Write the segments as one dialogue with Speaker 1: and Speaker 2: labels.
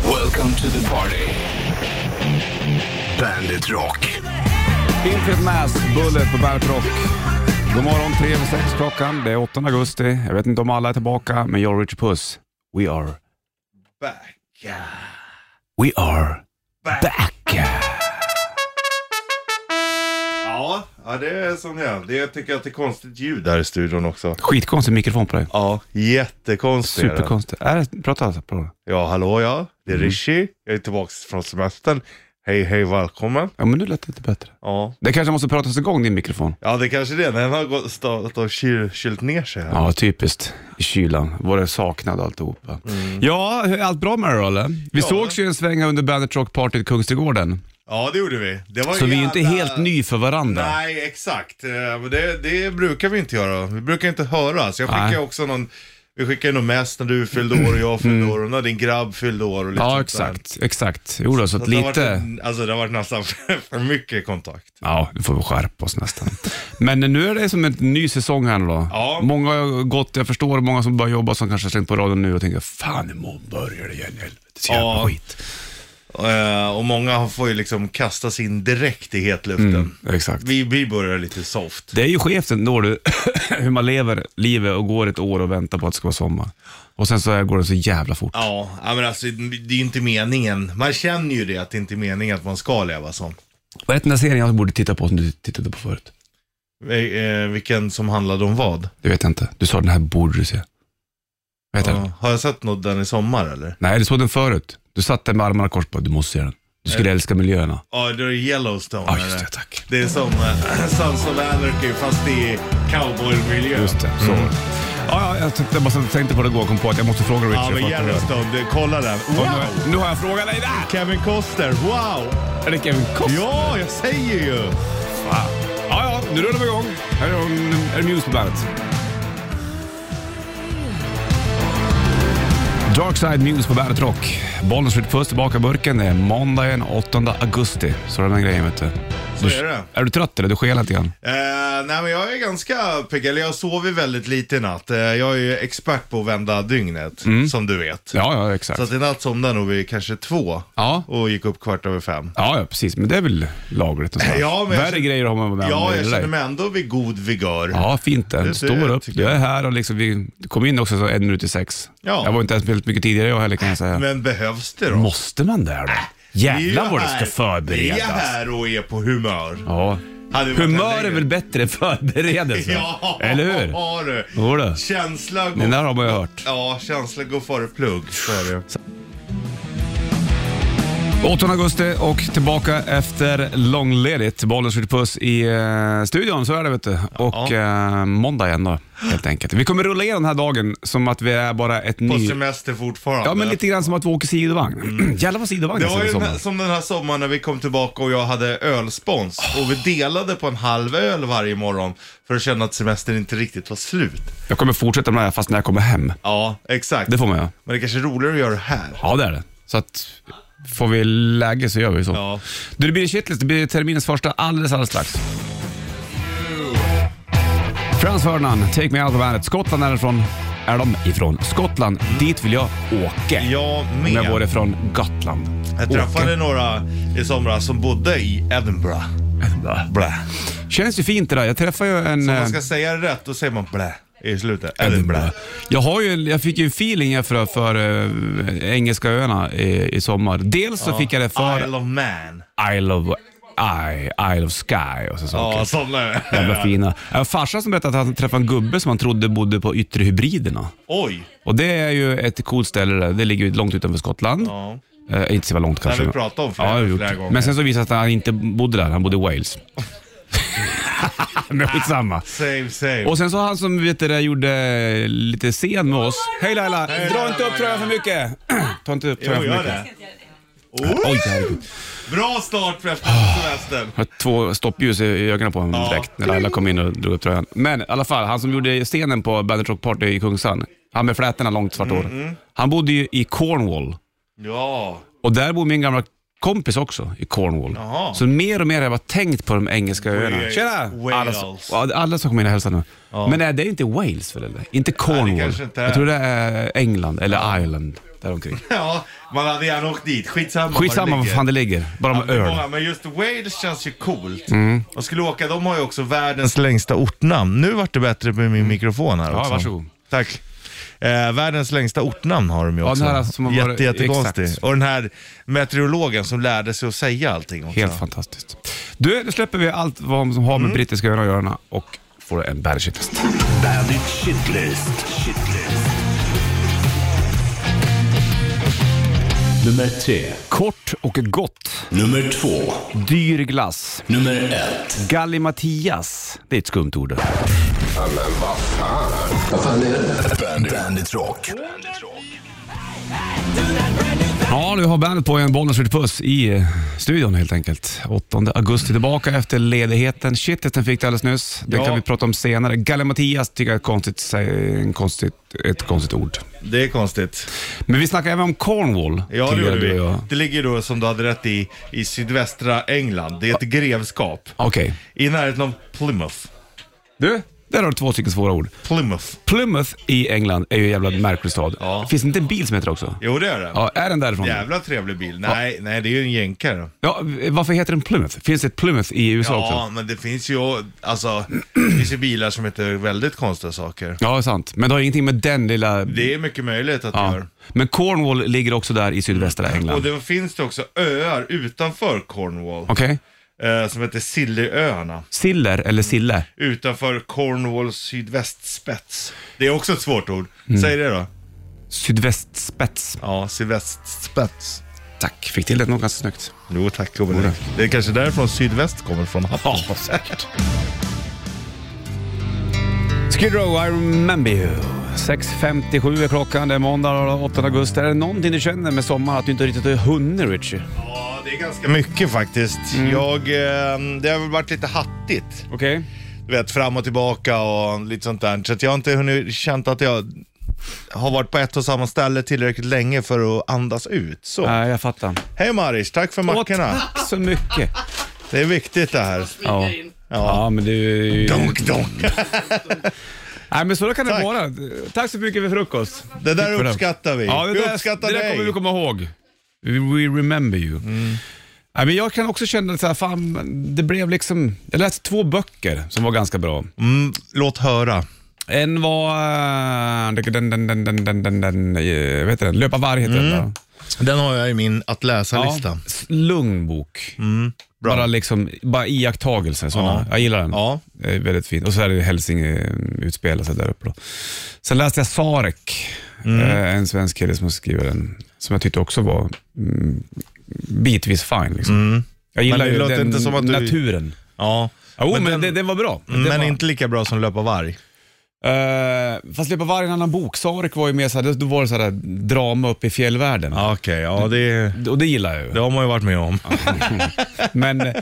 Speaker 1: Welcome to the party. Bandit Rock.
Speaker 2: Infinite Mass, Bullet på Bandet Rock. God morgon, tre över sex klockan. Det är 8 augusti. Jag vet inte om alla är tillbaka, men jag och Richard Puss, we are
Speaker 1: Back.
Speaker 2: We are
Speaker 1: Back.
Speaker 2: back.
Speaker 3: Ja, ja det är sån här. Det, jag tycker att det är konstigt ljud här i studion också.
Speaker 2: Skitkonstig mikrofon på dig.
Speaker 3: Ja, jättekonstigt. är det.
Speaker 2: Superkonstig. Är det, prata alltså på det.
Speaker 3: Ja, hallå ja. Det är
Speaker 2: Mm.
Speaker 3: Rishi. Jag är tillbaks från semestern. Hej, hej, välkommen.
Speaker 2: Ja, men nu lät det lite bättre.
Speaker 3: Ja,
Speaker 2: Det kanske måste pratas igång, din mikrofon.
Speaker 3: ja det kanske är det. Den har gått, stått och kyl, kylt ner sig här.
Speaker 2: Ja, typiskt. I kylan. Vår saknad och alltihopa.
Speaker 3: Mm.
Speaker 2: Ja, hur- är allt bra med dig då, eller? Vi sågs ju en svänga under Bandet Rock Party i Kungsträdgården.
Speaker 3: Ja, det gjorde vi. Det var
Speaker 2: Så vi är ju inte
Speaker 3: jävla-
Speaker 2: helt ny för varandra.
Speaker 3: Nej, exakt. Eh, Men det, det brukar vi inte göra. Vi brukar inte höras. Jag
Speaker 2: Nej.
Speaker 3: skickar också någon... Vi skickade nog mest när du fyllde år och jag fyllde år och när din grabb fyllde år och lite
Speaker 2: Mm. Ja,
Speaker 3: sånt där.
Speaker 2: exakt. Exakt. Jo, då, så att
Speaker 3: Det har
Speaker 2: lite...
Speaker 3: varit, alltså det har varit nästan för, för mycket kontakt.
Speaker 2: Ja, nu får vi skärpa oss nästan. Men nu är det som en ny säsong här nu då.
Speaker 3: Ja.
Speaker 2: Många har gått, jag förstår många som börjar jobba som kanske har slängt på radion nu och tänker, fan imorgon börjar det igen, helvete. Så jävla
Speaker 3: Ja.
Speaker 2: skit.
Speaker 3: Eh, och många har- får ju liksom kastas in direkt i hetluften.
Speaker 2: Mm. Exakt.
Speaker 3: Vi, vi börjar lite soft.
Speaker 2: Det är ju skevt ändå du, hur man lever livet och går ett år och väntar på att det ska vara sommar. Och sen så här går det så jävla fort.
Speaker 3: Ja, ja, men alltså det är ju inte meningen. Man känner ju det att det inte är meningen att man ska leva så.
Speaker 2: Vad hette den där serien jag borde titta på som du tittade på förut?
Speaker 3: Eh, eh, vilken som handlade om vad?
Speaker 2: Det vet jag inte. Du sa den här borde du se. Vad heter den?
Speaker 3: Ja, har jag sett något den i sommar eller?
Speaker 2: Nej, du såg den förut. Du satt där med armarna kors på, du måste se den. Du skulle älska miljöerna.
Speaker 3: Ja, det är Yellowstone.
Speaker 2: Ja, Ah, just
Speaker 3: eller?
Speaker 2: det, tack.
Speaker 3: Det är som eh, Sons of Anarchy fast i cowboymiljö.
Speaker 2: Just det, så
Speaker 3: Mm.
Speaker 2: var det. Ja, ja, jag tänkte- jag bara tänkte på det igår och kom på att jag måste fråga Richard.
Speaker 3: Ja, men
Speaker 2: för att- eh,
Speaker 3: Yellowstone, det, kolla den.
Speaker 2: Och
Speaker 3: Wow!
Speaker 2: nu, nu har jag frågat dig där!
Speaker 3: Kevin Costner, wow!
Speaker 2: Är det Kevin Costner?
Speaker 3: Ja, jag säger ju!
Speaker 2: Ja, ja, nu rullar vi igång. Här är, är det Muse på bandet. Darkside Muse på Bandet Rock. Bollen Street Puss tillbaka i burken. Det är måndagen 8 augusti. Så är det den grejen vet du.
Speaker 3: Så är det.
Speaker 2: Är du trött eller? Du skelar lite grann.
Speaker 3: Eh, nej men jag är ganska pigg, eller jag sover väldigt lite i natt. Eh, jag är ju expert på att vända dygnet,
Speaker 2: Mm.
Speaker 3: som du vet.
Speaker 2: Ja, ja, exakt.
Speaker 3: Så att i natt somnade jag nog vid kanske två
Speaker 2: Ja.
Speaker 3: och gick upp kvart över fem.
Speaker 2: Ja, ja, precis. Men det är väl lagligt? Och så.
Speaker 3: Ja, men jag
Speaker 2: Värre
Speaker 3: känner-
Speaker 2: grejer har man varit med om
Speaker 3: Ja,
Speaker 2: i
Speaker 3: jag
Speaker 2: livet.
Speaker 3: känner mig ändå vid god vigör.
Speaker 2: Ja, fint det.
Speaker 3: det
Speaker 2: Står upp.
Speaker 3: tycker
Speaker 2: Du är här och liksom, vi kom in också så en minut i sex.
Speaker 3: Ja.
Speaker 2: Jag var inte ens väldigt mycket tidigare jag heller kan jag säga.
Speaker 3: Men behövs det då?
Speaker 2: Måste man det då?
Speaker 3: Vi är ju
Speaker 2: Jävlar vad det
Speaker 3: här-
Speaker 2: ska
Speaker 3: Vi är
Speaker 2: förberedas.
Speaker 3: här och är på humör.
Speaker 2: Ja.
Speaker 3: Hade vi varit här
Speaker 2: Humör är
Speaker 3: längre-
Speaker 2: väl bättre än förberedelse?
Speaker 3: Ja,
Speaker 2: Eller hur?
Speaker 3: Ja du.
Speaker 2: Jo då.
Speaker 3: Känsla går...
Speaker 2: Den där har man ju hört.
Speaker 3: Ja, känsla går före plugg. Så är det.
Speaker 2: 8 augusti och tillbaka efter långledigt. Bollen skjuter puss i eh, studion, så är det vet du. Och eh, måndag igen då, helt enkelt. Vi kommer rulla igenom den här dagen som att vi är bara ett
Speaker 3: På
Speaker 2: ny...
Speaker 3: semester fortfarande.
Speaker 2: Ja, men lite grann som att vi åker sidovagn. Jävlar vad sidovagn
Speaker 3: Mm. Det
Speaker 2: jag
Speaker 3: var
Speaker 2: ser i
Speaker 3: ju den
Speaker 2: sommar.
Speaker 3: här, som den här sommaren när vi kom tillbaka och jag hade ölspons. Och vi delade på en halv öl varje morgon för att känna att semestern inte riktigt var slut.
Speaker 2: Jag kommer fortsätta med det här fast när jag kommer hem.
Speaker 3: Ja, exakt.
Speaker 2: Det får man göra.
Speaker 3: Men det kanske är roligare att göra det här.
Speaker 2: Ja, det är det. Så att får vi läge så gör vi så.
Speaker 3: Ja.
Speaker 2: Du, det blir en shitlist. Det blir terminens första alldeles, alldeles strax. Frans Ferdinand, Take Me Out of Bandet. Skottland är, det från, är de ifrån. Skottland, dit vill jag åka.
Speaker 3: Jag
Speaker 2: Om jag vore
Speaker 3: med.
Speaker 2: från Gotland.
Speaker 3: Jag träffade några i somras som bodde i Edinburgh.
Speaker 2: Åka.
Speaker 3: Blä.
Speaker 2: Känns ju fint det där. Jag träffade ju en...
Speaker 3: Om
Speaker 2: eh,
Speaker 3: man ska säga det rätt, då säger man blä i slutet.
Speaker 2: Edinburgh.
Speaker 3: Edinburgh.
Speaker 2: Jag, har ju, en- jag fick ju en feeling här för, för eh, Engelska öarna i, i sommar. Dels så fick jag det för
Speaker 3: Isle of Man.
Speaker 2: Isle of, I, Isle of Sky och så saker.
Speaker 3: Ja, sådana är det.
Speaker 2: Jävla fina. Jag har en farsa som berättade att han träffade en gubbe som han trodde bodde på Yttre Hybriderna.
Speaker 3: Oj.
Speaker 2: Och det är ju ett coolt ställe där. Det ligger ju långt utanför Skottland.
Speaker 3: Ja.
Speaker 2: Eh, inte så jävla långt
Speaker 3: Det har
Speaker 2: kanske.
Speaker 3: vi pratat om
Speaker 2: Ja,
Speaker 3: flera,
Speaker 2: det har vi
Speaker 3: flera
Speaker 2: gjort.
Speaker 3: gånger.
Speaker 2: Men sen så visade det sig att han inte bodde där, han bodde i Wales. Men skitsamma.
Speaker 3: Save, save.
Speaker 2: Och sen så han som vet du, det, gjorde lite scen med oss. Hej Laila! Dra inte upp tröjan för mycket! Ta inte upp
Speaker 3: Jo,
Speaker 2: tröjan för
Speaker 3: gör
Speaker 2: mycket.
Speaker 3: det. Oh,
Speaker 2: Oj, herregud.
Speaker 3: bra start för
Speaker 2: Ah.
Speaker 3: efter semestern.
Speaker 2: Jag har två stoppljus i- i ögonen på honom
Speaker 3: Ja.
Speaker 2: direkt när alla kom in och drog upp tröjan. Men i alla fall, han som gjorde scenen på Bandit Rock Party i Kungsan, han med flätorna, långt svart hår.
Speaker 3: Mm,
Speaker 2: Han bodde ju i Cornwall
Speaker 3: Ja.
Speaker 2: och där bor min gamla kompis också i Cornwall.
Speaker 3: Jaha.
Speaker 2: Så mer och mer har jag bara tänkt på de engelska öarna. Tjena! Alla, som-
Speaker 3: Wales.
Speaker 2: ja, alla som kommer in och hälsar nu. Men nej, det är inte Wales väl eller? Inte Cornwall.
Speaker 3: kanske inte är.
Speaker 2: jag tror det är England eller Ireland. däromkring.
Speaker 3: Ja, man hade gärna åkt dit. Skitsamma
Speaker 2: Skitsamma var
Speaker 3: ligger.
Speaker 2: fan det ligger, bara
Speaker 3: Ja,
Speaker 2: med
Speaker 3: men
Speaker 2: öl. Mm.
Speaker 3: många- Men just Wales känns ju coolt. Man skulle åka, de har ju också världens längsta ortnamn. Nu vart det bättre med min mikrofon här
Speaker 2: Mm. Ja,
Speaker 3: också.
Speaker 2: varsågod.
Speaker 3: Tack. Eh, världens längsta ortnamn har de ju
Speaker 2: Ja,
Speaker 3: också.
Speaker 2: den här som har varit-
Speaker 3: Jätte, jättekonstig.
Speaker 2: exakt.
Speaker 3: Och den här meteorologen som lärde sig att säga allting också.
Speaker 2: Helt fantastiskt. Du, nu släpper vi allt vad som har med brittiska öar att göra och får en bergshitest.
Speaker 4: Bandit Shitlist. Shitlist. Nummer tre.
Speaker 2: Kort och gott.
Speaker 4: Nummer två.
Speaker 2: Dyr glass.
Speaker 4: Nummer ett.
Speaker 2: Gallimatias. Det är ett skumt ord.
Speaker 4: Bandit, Bandit Rock.
Speaker 2: Ja, du har bandet på en Bollnäs puss i eh, studion helt enkelt. 8 augusti tillbaka efter ledigheten. Shitesten fick du alldeles nyss. Det
Speaker 3: Ja.
Speaker 2: kan vi prata om senare. Gallimatias tycker jag är ett konstigt, sä- en konstigt, ett konstigt ord.
Speaker 3: Det är konstigt.
Speaker 2: Men vi snackade även om Cornwall
Speaker 3: Ja, det
Speaker 2: tidigare,
Speaker 3: gjorde
Speaker 2: du och
Speaker 3: vi.
Speaker 2: jag.
Speaker 3: Det ligger då, som du hade rätt i, i sydvästra England. Det är ett grevskap.
Speaker 2: Okej.
Speaker 3: I närheten av Plymouth.
Speaker 2: Du, där har du två stycken svåra ord.
Speaker 3: Plymouth.
Speaker 2: Plymouth i England är ju en jävla märklig stad.
Speaker 3: Ja.
Speaker 2: Finns det inte en bil som heter det också?
Speaker 3: Jo, det är det.
Speaker 2: Ja, är den därifrån?
Speaker 3: Jävla trevlig bil. Nej, nej, det är ju en jänkare.
Speaker 2: Ja, varför heter den Plymouth? Finns det ett Plymouth i USA
Speaker 3: Ja,
Speaker 2: också?
Speaker 3: men det finns ju, alltså, det finns ju bilar som heter väldigt konstiga saker.
Speaker 2: Ja, det är sant. Men det har ingenting med den lilla...
Speaker 3: Det är mycket möjligt att det
Speaker 2: Ja.
Speaker 3: gör.
Speaker 2: Men Cornwall ligger också där i sydvästra
Speaker 3: Och
Speaker 2: England.
Speaker 3: det finns det också öar utanför Cornwall,
Speaker 2: Okej.
Speaker 3: eh, som heter Sillyöarna.
Speaker 2: Siller eller Sille?
Speaker 3: Utanför Cornwalls sydvästspets. Det är också ett svårt ord.
Speaker 2: Mm.
Speaker 3: Säg det då.
Speaker 2: Sydvästspets.
Speaker 3: Ja, sydvästspets.
Speaker 2: Tack, fick till det nog ganska snyggt.
Speaker 3: Jo tack och belägg. Det är kanske därifrån sydväst kommer från Happel.
Speaker 2: säkert. Skid Row, I remember you. 6.57 är klockan, det är måndag den 8 augusti. Är det någonting du känner med sommaren att du inte riktigt har hunnit, Richie?
Speaker 3: Ja, det är ganska mycket faktiskt.
Speaker 2: Mm.
Speaker 3: Jag, eh, det har väl varit lite hattigt.
Speaker 2: Okej.
Speaker 3: du vet, fram och tillbaka och lite sånt där. Så att jag har inte hunnit känt att jag har varit på ett och samma ställe tillräckligt länge för att andas ut. Så.
Speaker 2: Nej, jag fattar.
Speaker 3: Hej Maris, tack för
Speaker 2: Åh,
Speaker 3: mackorna.
Speaker 2: tack så mycket.
Speaker 3: Det är viktigt det här.
Speaker 2: Ja. ja, men det är ju...
Speaker 3: Donk, donk.
Speaker 2: Nej, men så kan det
Speaker 3: Tack.
Speaker 2: vara. Tack så mycket för frukost.
Speaker 3: Det där
Speaker 2: för det.
Speaker 3: uppskattar vi.
Speaker 2: Ja, det
Speaker 3: vi
Speaker 2: där,
Speaker 3: uppskattar
Speaker 2: det där
Speaker 3: dig. Mm.
Speaker 2: kommer vi komma ihåg. We, we remember you. Nej, men jag kan också känna så här, fan, det blev liksom... Jag läste två böcker som var ganska bra.
Speaker 3: Mm, låt höra.
Speaker 2: En var... eh, Den, den, den, den, den, den, den, eh, vet du den? Löpa varg heter
Speaker 3: Mm.
Speaker 2: den. va?
Speaker 3: Den har jag i min att
Speaker 2: Ja,
Speaker 3: läsa-lista.
Speaker 2: s- lugn bok. Bara, liksom, bara iakttagelser. Såna.
Speaker 3: Mm, Ja.
Speaker 2: Jag gillar den.
Speaker 3: Ja.
Speaker 2: Det är väldigt fint. Och så är det Hälsing utspelar sig där uppe. Då. Sen läste jag Sarek,
Speaker 3: Mm.
Speaker 2: eh, en svensk kille som skriver den, som jag tyckte också var mm, bitvis fin. Liksom. Jag gillar
Speaker 3: Mm. det
Speaker 2: ju
Speaker 3: låter
Speaker 2: den
Speaker 3: inte som att du-
Speaker 2: naturen.
Speaker 3: Ja.
Speaker 2: Jo, men,
Speaker 3: den- Mm.
Speaker 2: den, den, var bra. Den
Speaker 3: men
Speaker 2: var,
Speaker 3: inte lika bra som Löpa varg.
Speaker 2: Eh, fast det var varje annan bok. Sarek var ju mer såhär, då var det såhär drama uppe i fjällvärlden.
Speaker 3: Ja, Okej, ja det,
Speaker 2: Och det gillar jag ju.
Speaker 3: Mm. det har man ju varit med om.
Speaker 2: Men eh,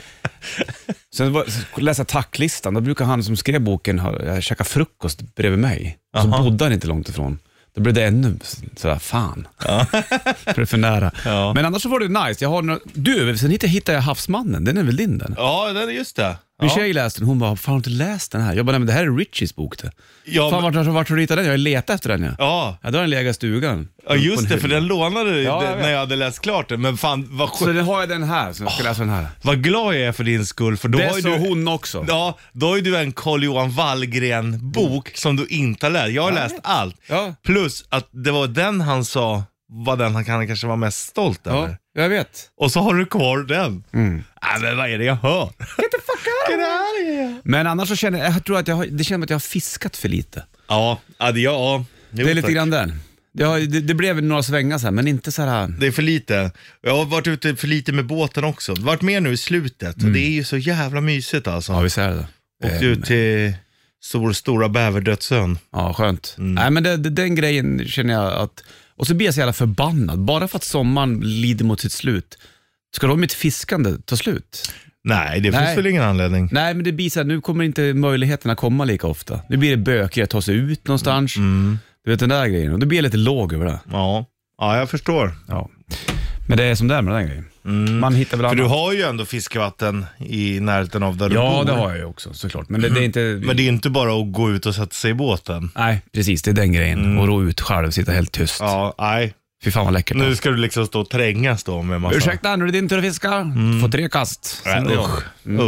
Speaker 2: sen var, så läste jag tacklistan, då brukar han som skrev boken ha- eh, käka frukost bredvid mig. Och så
Speaker 3: Aha.
Speaker 2: bodde han inte långt ifrån. Då blev det ännu s- sådär, fan. För det är för nära.
Speaker 3: Ja.
Speaker 2: Men annars så var det nice. Jag har några, du, sen hittade hittade jag Havsmannen, den är väl din den?
Speaker 3: Ja, det är just det.
Speaker 2: Min
Speaker 3: Ja.
Speaker 2: tjej läste den, hon bara, fan har du inte läst den här? Jag bara, nej men det här är Richies bok det.
Speaker 3: Ja,
Speaker 2: fan
Speaker 3: men-
Speaker 2: vart, vart, vart har du hittat den? Jag har letat efter den ja.
Speaker 3: Ja,
Speaker 2: Ja, då har den legat i stugan.
Speaker 3: Ja just det, för den lånade du
Speaker 2: Ja, jag
Speaker 3: det-
Speaker 2: vet.
Speaker 3: när jag hade läst klart den. Men fan vad, skönt.
Speaker 2: Så den har jag den här, så jag ska läsa den här.
Speaker 3: vad glad jag är för din skull. För då har
Speaker 2: Det
Speaker 3: ju
Speaker 2: sa
Speaker 3: du,
Speaker 2: hon också.
Speaker 3: Ja, då har ju du en Carl-Johan Wallgren-bok som du inte har läst. Jag har läst allt.
Speaker 2: Mm. Ja.
Speaker 3: Plus att det var den han sa var den han kan- kanske var mest stolt över.
Speaker 2: Ja, jag vet.
Speaker 3: Och så har du kvar den. Mm. Nej men vad är det jag hör? Get the fuck out of here!
Speaker 2: Men annars så känner jag, jag tror att jag har, det känns som att jag har fiskat för lite.
Speaker 3: Ja, ja, det, ja. Jo,
Speaker 2: Det är lite
Speaker 3: tack.
Speaker 2: grann där. Det, har, det, det blev några svängar så här, men inte så här...
Speaker 3: Det är för lite. Jag har varit ute för lite med båten också. Varit med nu i slutet. Det är ju så jävla mysigt alltså.
Speaker 2: Mm. Ja, vi eh, ser det.
Speaker 3: Åkte ut till stor, stora Bäverdödsön.
Speaker 2: Ja, skönt.
Speaker 3: Mm.
Speaker 2: Nej, men det, det, den grejen känner jag att... Och så blir jag så jävla förbannad. Bara för att sommaren lider mot sitt slut, ska då mitt fiskande ta slut?
Speaker 3: Nej, det
Speaker 2: Nej.
Speaker 3: finns väl ingen anledning.
Speaker 2: Nej, men det blir så här, nu kommer inte möjligheterna komma lika ofta. Nu blir det bökigare att ta sig ut någonstans.
Speaker 3: Mm.
Speaker 2: Du vet den där grejen. Och det blir jag lite låg över det.
Speaker 3: Ja. ja, jag förstår.
Speaker 2: Ja. Men det är som det är med den grejen. Man hittar väl
Speaker 3: För
Speaker 2: annat.
Speaker 3: du har ju ändå fiskevatten i närheten av där du
Speaker 2: Ja,
Speaker 3: bor.
Speaker 2: det har jag ju också såklart. Men det, det är inte...
Speaker 3: Mm. Men det är inte bara att gå ut och sätta sig i båten.
Speaker 2: Nej, precis. Det är den grejen. Och rå ut själv, sitta helt tyst.
Speaker 3: Mm. Ja, nej.
Speaker 2: Fy fan vad läckert.
Speaker 3: Nu ska du liksom stå och trängas då med massa...
Speaker 2: Ursäkta, nu är det din tur att fiska. Får tre kast. Sen
Speaker 3: Mm. Nej,
Speaker 2: då.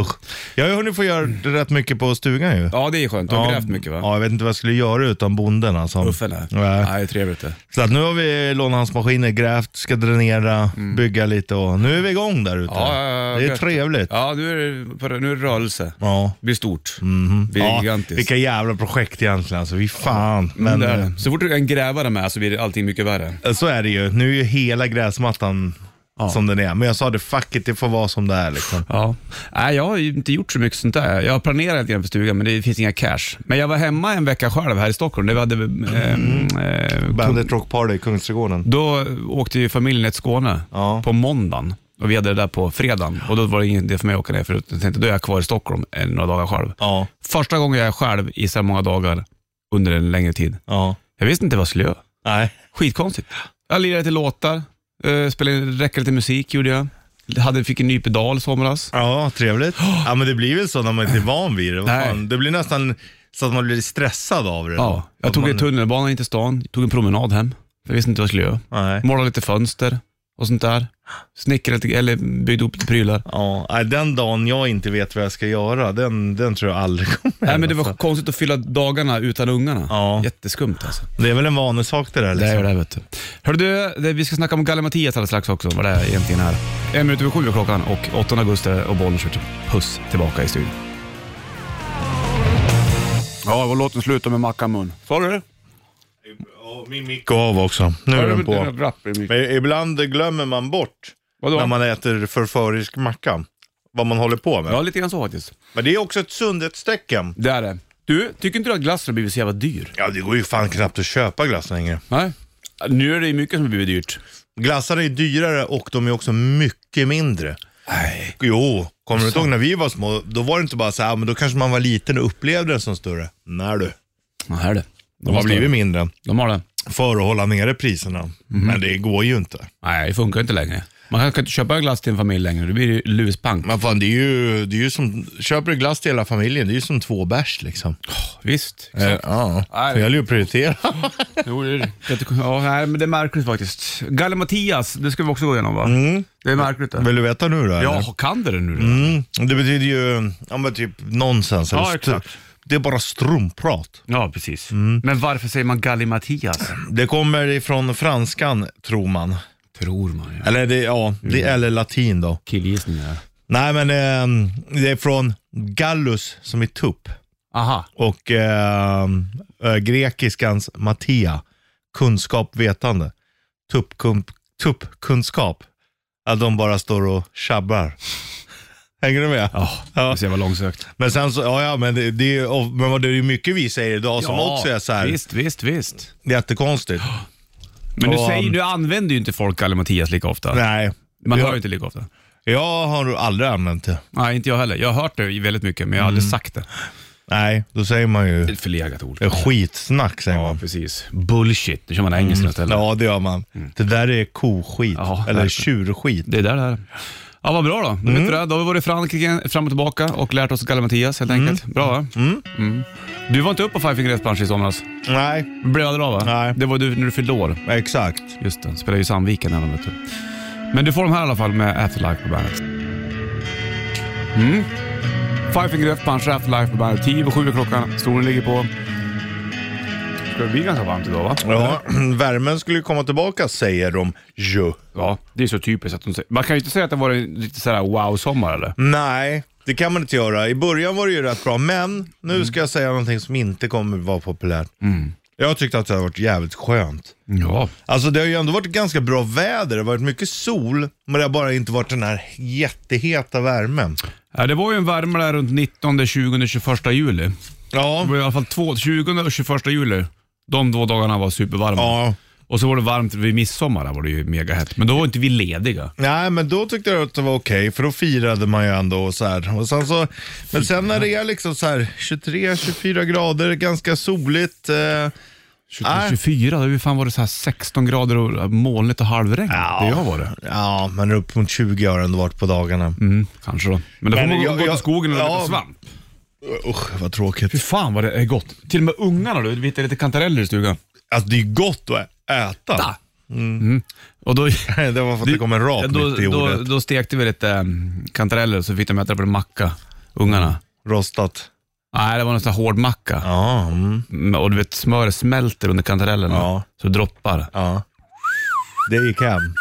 Speaker 3: usch. usch. Jag har ju hunnit få göra rätt mycket på stugan ju.
Speaker 2: Mm. Ja, det är skönt. Du har grävt mycket va?
Speaker 3: Ja, jag vet inte vad jag skulle göra utan bonden alltså.
Speaker 2: Uffe där.
Speaker 3: Nej.
Speaker 2: Nej, det är trevligt det.
Speaker 3: Så att nu har vi lånat hans maskiner, grävt, ska dränera, bygga lite och nu är vi igång där ute.
Speaker 2: Mm. Ja, ja, ja,
Speaker 3: det är
Speaker 2: gött.
Speaker 3: trevligt. Ja.
Speaker 2: Ja, nu är det, på- nu är det rörelse.
Speaker 3: Ja.
Speaker 2: Det blir stort.
Speaker 3: Mhm.
Speaker 2: Mm. blir gigantiskt. Mm,
Speaker 3: vilka jävla projekt egentligen alltså. Vi fan. Men
Speaker 2: Det är det. Så fort du är en grävare med så blir allting mycket värre.
Speaker 3: eh, så är det ju. Nu är ju hela gräsmattan som den är. Men jag sa det, fuck it, det får vara som det är liksom.
Speaker 2: Ja. Nej, jag har ju inte gjort så mycket sånt där. Jag har planerat lite grann för stugan, men det finns inga cash. Men jag var hemma en vecka själv här i Stockholm. Där vi hade,
Speaker 3: Mm.
Speaker 2: ehm, eh,
Speaker 3: Bandit Rock Party i Kungsträdgården.
Speaker 2: då åkte ju familjen ner till Skåne
Speaker 3: Ja.
Speaker 2: på måndagen. Och vi hade det där på fredagen och då var det ingen idé för mig att åka ner för jag tänkte då är jag kvar i Stockholm eh, några dagar själv.
Speaker 3: Ja,
Speaker 2: Första gången jag är själv i så här många dagar under en längre tid.
Speaker 3: ja.
Speaker 2: Jag visste inte vad jag skulle göra.
Speaker 3: Nej.
Speaker 2: Skitkonstigt. Jag lirade lite låtar, eh, spelade, räckte lite musik gjorde jag. Hade, fick en ny pedal i somras.
Speaker 3: Ja, trevligt. Ja, men det blir väl så när man inte är van vid det. Vad
Speaker 2: Nej.
Speaker 3: Fan, det blir nästan så att man blir stressad av det.
Speaker 2: Ja, jag
Speaker 3: Att
Speaker 2: tog
Speaker 3: man-
Speaker 2: en tunnelbana in till stan, tog en promenad hem. Jag visste inte vad jag skulle göra.
Speaker 3: Nej.
Speaker 2: Målade lite fönster och sånt där. Snickrade lite, eller byggde upp lite prylar.
Speaker 3: Ja, nej, den dagen jag inte vet vad jag ska göra, den, den tror jag aldrig kommer
Speaker 2: Nej men det var
Speaker 3: alltså.
Speaker 2: konstigt att fylla dagarna utan ungarna.
Speaker 3: Ja.
Speaker 2: Jätteskumt alltså.
Speaker 3: det är väl en vanesak det där
Speaker 2: Det
Speaker 3: liksom.
Speaker 2: är det vet du. Hörru du, det, vi ska snacka om Galle-Mattias alldeles strax också, vad det är egentligen här. En minut över sju är klockan och 8 augusti och bollen skjuter puss tillbaka i studion. Ja, vad låten slutar med mackamun. Sa du det?
Speaker 3: Ja, min mick går av också. Nu är den på. Men ibland glömmer man bort
Speaker 2: Vadå?
Speaker 3: när man äter förförisk macka, vad man håller på med.
Speaker 2: Ja, lite grann så faktiskt.
Speaker 3: Men det är också ett sundhetstecken.
Speaker 2: Det är det. Du, tycker inte du att glassen har blivit så jävla dyr?
Speaker 3: Ja, det går ju fan knappt att köpa glass längre.
Speaker 2: Nej. Nu är det ju mycket som har blivit dyrt.
Speaker 3: Glassar är dyrare och de är också mycket mindre.
Speaker 2: Nej.
Speaker 3: Jo, kommer du inte ihåg när vi var små? Då var det inte bara så här, "Ah, men då kanske man var liten och upplevde den som större. Nej du,
Speaker 2: här är det. De,
Speaker 3: de har blivit mindre.
Speaker 2: De har det.
Speaker 3: För att hålla nere priserna.
Speaker 2: Mhm.
Speaker 3: Men det går ju inte.
Speaker 2: Nej, det funkar inte längre. Man kan kan inte köpa en glass till en familj längre. Det blir ju luspank.
Speaker 3: Men fan, det är ju, det är ju som, köper du glass till hela familjen, det är ju som två bärs liksom.
Speaker 2: Visst.
Speaker 3: Eh, ja,
Speaker 2: Nej.
Speaker 3: det gäller ju att prioritera.
Speaker 2: Jo, det är det. Jag tycker- Ja, nej, men det är märkligt faktiskt. Galle Mattias, det ska vi också gå igenom va? Det är märkligt det.
Speaker 3: Vill du veta nu då? eller?
Speaker 2: Ja, Mm. kan du det nu då?
Speaker 3: Mm, det betyder ju, ja men typ nonsens. eller
Speaker 2: Ja,
Speaker 3: stru-
Speaker 2: exakt.
Speaker 3: Det är bara strumprat.
Speaker 2: Ja, precis. Men varför säger man Galle Mattias?
Speaker 3: Det kommer ifrån franskan, tror man.
Speaker 2: Tror man ja.
Speaker 3: Eller det, ja, det,
Speaker 2: Mm.
Speaker 3: eller latin då.
Speaker 2: Killgissningar.
Speaker 3: Nej men eh, det är från gallus som är tupp
Speaker 2: Aha.
Speaker 3: och eh, eh, grekiskans matia, kunskap, vetande. Tuppkum- Tuppkunskap. att de bara står och tjabbar. Hänger du med?
Speaker 2: Ja,
Speaker 3: Ja.
Speaker 2: det ser jag långsökt.
Speaker 3: Men sen så, ja, ja men det, det, är ju- och- men vad det är ju mycket vi säger idag som också är så här,
Speaker 2: Visst, visst, visst.
Speaker 3: jättekonstigt.
Speaker 2: Men du,
Speaker 3: Och,
Speaker 2: säger,
Speaker 3: um,
Speaker 2: du använder ju inte folk Galle Mattias lika ofta.
Speaker 3: Nej,
Speaker 2: Man
Speaker 3: jag,
Speaker 2: hör ju inte lika ofta.
Speaker 3: jag har aldrig använt det.
Speaker 2: Nej, inte jag heller. Jag har hört det väldigt mycket, men jag har aldrig sagt det.
Speaker 3: Nej, då säger man ju
Speaker 2: Ett Mm. förlegat ord.
Speaker 3: det är skitsnack säger
Speaker 2: Ja,
Speaker 3: man.
Speaker 2: precis. Bullshit. Det kör man engelska istället.
Speaker 3: Ja, det gör man. Det där är koskit,
Speaker 2: Mm. Ja,
Speaker 3: eller
Speaker 2: verkligen.
Speaker 3: tjurskit.
Speaker 2: Det är där det är. Ja, vad bra då. Då, vet du det. då har vi varit i Frankrike fram och tillbaka och lärt oss Galle Mattias helt enkelt. Bra va? Mm. Du var inte uppe på Five Finger Death Punch i somras?
Speaker 3: Nej,
Speaker 2: Blev aldrig av va?
Speaker 3: Nej.
Speaker 2: Det var du när du fyllde år.
Speaker 3: exakt.
Speaker 2: Just det, spelade ju i Sandviken även vet du. Men du får de här i alla fall med Afterlife på bandet. Mm. Five Finger Death Punch, Afterlife på bandet. 10 över 7 klockan. Stolen ligger på. Ska det bli ganska varmt idag va?
Speaker 3: Ja, värmen skulle ju komma tillbaka säger de ju.
Speaker 2: Ja, det är så typiskt att de säger. Man kan ju inte säga att det var en lite sådär wow-sommar eller?
Speaker 3: Nej, det kan man inte göra. I början var det ju rätt bra, men
Speaker 2: Mm.
Speaker 3: nu ska jag säga någonting som inte kommer vara populärt. Jag tyckte att det har varit jävligt skönt.
Speaker 2: Ja.
Speaker 3: Alltså det har ju ändå varit ganska bra väder, det har varit mycket sol, men det har bara inte varit den här jätteheta värmen.
Speaker 2: Ja, det var ju en värme där runt 19, 20, 21 juli. Det
Speaker 3: Ja,
Speaker 2: var i alla fall två, 20 och 21 juli. De två dagarna var supervarma.
Speaker 3: ja.
Speaker 2: Och så var det varmt vid midsommar, där var det ju megahett. Men då var inte vi lediga.
Speaker 3: Nej, men då tyckte jag att det var okej, för då firade man ju ändå och så här. Och sen så, men sen när det är liksom så här 23-24 grader, ganska soligt. Eh,
Speaker 2: 20,
Speaker 3: Nej.
Speaker 2: 24, då hur fan var det så här 16 grader och molnigt och halvregn.
Speaker 3: Ja.
Speaker 2: Det jag var det.
Speaker 3: ja, men upp mot 20 har det ändå varit på dagarna.
Speaker 2: Mm, kanske då. Men då får
Speaker 3: Men
Speaker 2: man
Speaker 3: jag-
Speaker 2: gå till
Speaker 3: jag-
Speaker 2: skogen och
Speaker 3: ja.
Speaker 2: leta svamp.
Speaker 3: Usch, vad
Speaker 2: Fy
Speaker 3: tråkigt.
Speaker 2: fan vad det är gott. Till och med ungarna du, vi hittade lite kantareller i stugan.
Speaker 3: Alltså det är gott att äta.
Speaker 2: Ta. Mm. Och då,
Speaker 3: Det var för att det kom en rap
Speaker 2: då,
Speaker 3: mitt i
Speaker 2: då,
Speaker 3: ordet.
Speaker 2: då stekte vi lite mm, kantareller så fick de äta det på en macka, ungarna.
Speaker 3: Rostat.
Speaker 2: Nej, det var någon sån här hård macka.
Speaker 3: Ja, mm.
Speaker 2: Mm, Och du vet, smöret smälter under kantarellerna.
Speaker 3: Ja.
Speaker 2: Så det droppar.
Speaker 3: Ja. Det gick hem.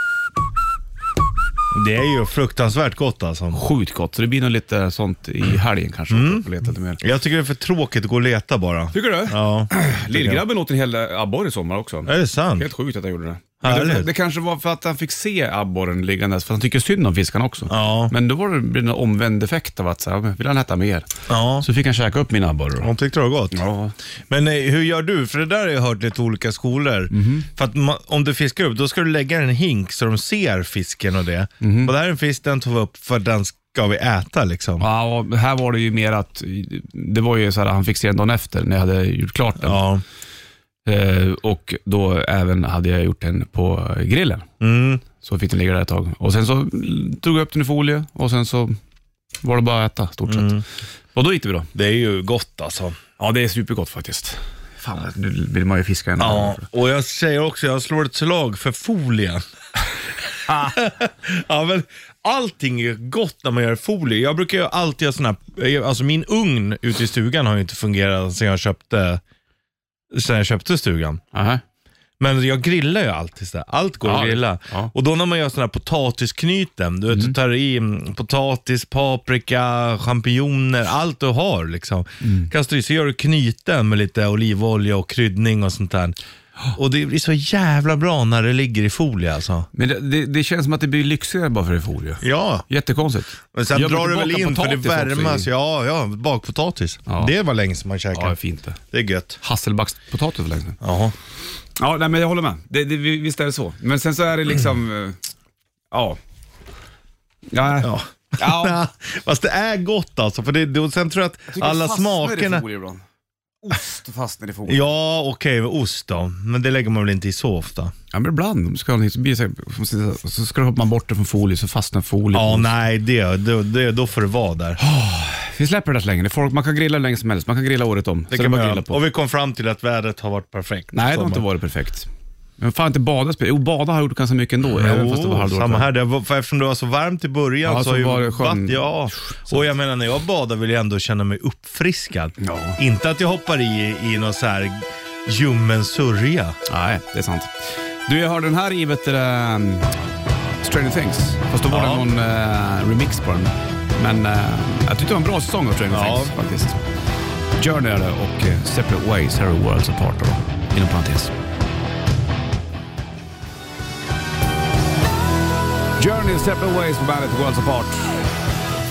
Speaker 3: Det är ju fruktansvärt gott alltså.
Speaker 2: Sjukt gott, så det blir nog lite sånt i helgen kanske. Mm. Leta lite mer.
Speaker 3: Jag tycker det är för tråkigt att gå och leta bara.
Speaker 2: Tycker du?
Speaker 3: Ja.
Speaker 2: Lillgrabben åt en hel eh, abborre i sommar också.
Speaker 3: Är det sant?
Speaker 2: Helt sjukt att han gjorde det. Men
Speaker 3: Härligt.
Speaker 2: det. Det kanske var för att han fick se abborren liggandes, för han tycker synd om fiskarna också.
Speaker 3: Ja.
Speaker 2: Men då var det, blev det en omvänd effekt av att så här, men vill han äta mer.
Speaker 3: Ja.
Speaker 2: Så fick han käka upp min abborre. då.
Speaker 3: Hon tyckte det var gott.
Speaker 2: Ja.
Speaker 3: Men eh, hur gör du? För det där har jag hört lite olika skolor.
Speaker 2: Mhm.
Speaker 3: För att ma- om du fiskar upp, då ska du lägga den i en hink så de ser fisken och det.
Speaker 2: Mhm.
Speaker 3: Och det här är en fisk, den tog vi upp för den ska vi äta liksom.
Speaker 2: Ja, och här var det ju mer att, det var ju så här, han fick se den dagen efter när jag hade gjort klart den.
Speaker 3: Ja.
Speaker 2: Eh, och då även hade jag gjort den på grillen.
Speaker 3: Mm.
Speaker 2: Så fick den ligga där ett tag. Och sen så tog jag upp den i folie och sen så var det bara att äta stort sett. Och då gick det bra.
Speaker 3: Det är ju gott alltså.
Speaker 2: Mm. Ja, det är supergott faktiskt. Fan, nu vill man ju fiska ännu
Speaker 3: Ja,
Speaker 2: mer.
Speaker 3: och jag säger också, jag slår ett slag för folien. ja, men allting är gott när man gör folie. Jag brukar ju alltid ha såna här, alltså min ugn ute i stugan har ju inte fungerat sedan jag köpte, sedan jag köpte stugan.
Speaker 2: Aha.
Speaker 3: Men jag grillar ju alltid sådär. Allt går
Speaker 2: Ja,
Speaker 3: att grilla.
Speaker 2: ja.
Speaker 3: Och då när man gör sådana här potatisknyten, du vet, du tar i mm, potatis, paprika, champinjoner, allt du har liksom.
Speaker 2: Mm.
Speaker 3: Kastar i, så gör du knyten med lite olivolja och kryddning och sånt där. Och det blir så jävla bra när det ligger i folie alltså.
Speaker 2: Men det, det, det känns som att det blir lyxigare bara för det i folie.
Speaker 3: Ja,
Speaker 2: Jättekonstigt.
Speaker 3: men sen
Speaker 2: Jag
Speaker 3: drar du
Speaker 2: brukar
Speaker 3: väl
Speaker 2: baka
Speaker 3: in för det
Speaker 2: potatis också i-
Speaker 3: värmas. Ja, ja, bakpotatis.
Speaker 2: Ja.
Speaker 3: Det var länge sedan man käkade.
Speaker 2: Ja, fint det.
Speaker 3: Det är gött.
Speaker 2: Hasselbackspotatis för länge sedan.
Speaker 3: Ja.
Speaker 2: Ja, nej, men jag håller med. Det, det, vi- visst är det så. Men sen så är det liksom, eh, ja. Ja.
Speaker 3: Ja.
Speaker 2: ja.
Speaker 3: Ja, Fast det är gott alltså, för det, det, och sen tror jag att alla smakerna...
Speaker 2: ibland. Ost fastnar i folie. Ja.
Speaker 3: Ja, okej, med ost då. Men det lägger man väl inte i så ofta?
Speaker 2: men ibland. om du Ska ha, någonting så, blir det så, här- så skrapar man bort det från folie så fastnar folie.
Speaker 3: Ja, nej, det, det, det, då får det vara där.
Speaker 2: Vi släpper det där så länge. Det är Folk, man kan grilla hur länge som helst. Man kan grilla året om. så det är bara att grilla på.
Speaker 3: Och vi kom fram till att vädret har varit perfekt.
Speaker 2: Nej, det har inte varit perfekt. Men fan inte bada spelar. Jo, bada har jag gjort ganska mycket ändå. även fast det var
Speaker 3: Jo,
Speaker 2: halvdåligt.
Speaker 3: samma här. Det var, för eftersom det var så varmt i början
Speaker 2: Ja,
Speaker 3: så
Speaker 2: så
Speaker 3: har ju
Speaker 2: var det skön-
Speaker 3: vatt- Ja, och jag menar när jag badar vill jag ändå känna mig uppfriskad.
Speaker 2: Ja.
Speaker 3: Inte att jag hoppar i, i någon så här ljummen sörja.
Speaker 2: Nej, det är sant. Du, jag hörde den här i vet du, ehm, Stranger Things. Fast då var
Speaker 3: Ja.
Speaker 2: det någon eh, remix på den. Men eh, jag tyckte det var en bra säsong av Stranger
Speaker 3: Ja.
Speaker 2: Things faktiskt. Journey är det och eh, Separate Ways, Harry Worlds Apart då, inom parentes. Journey, Separate Ways på bandet Worlds Apart.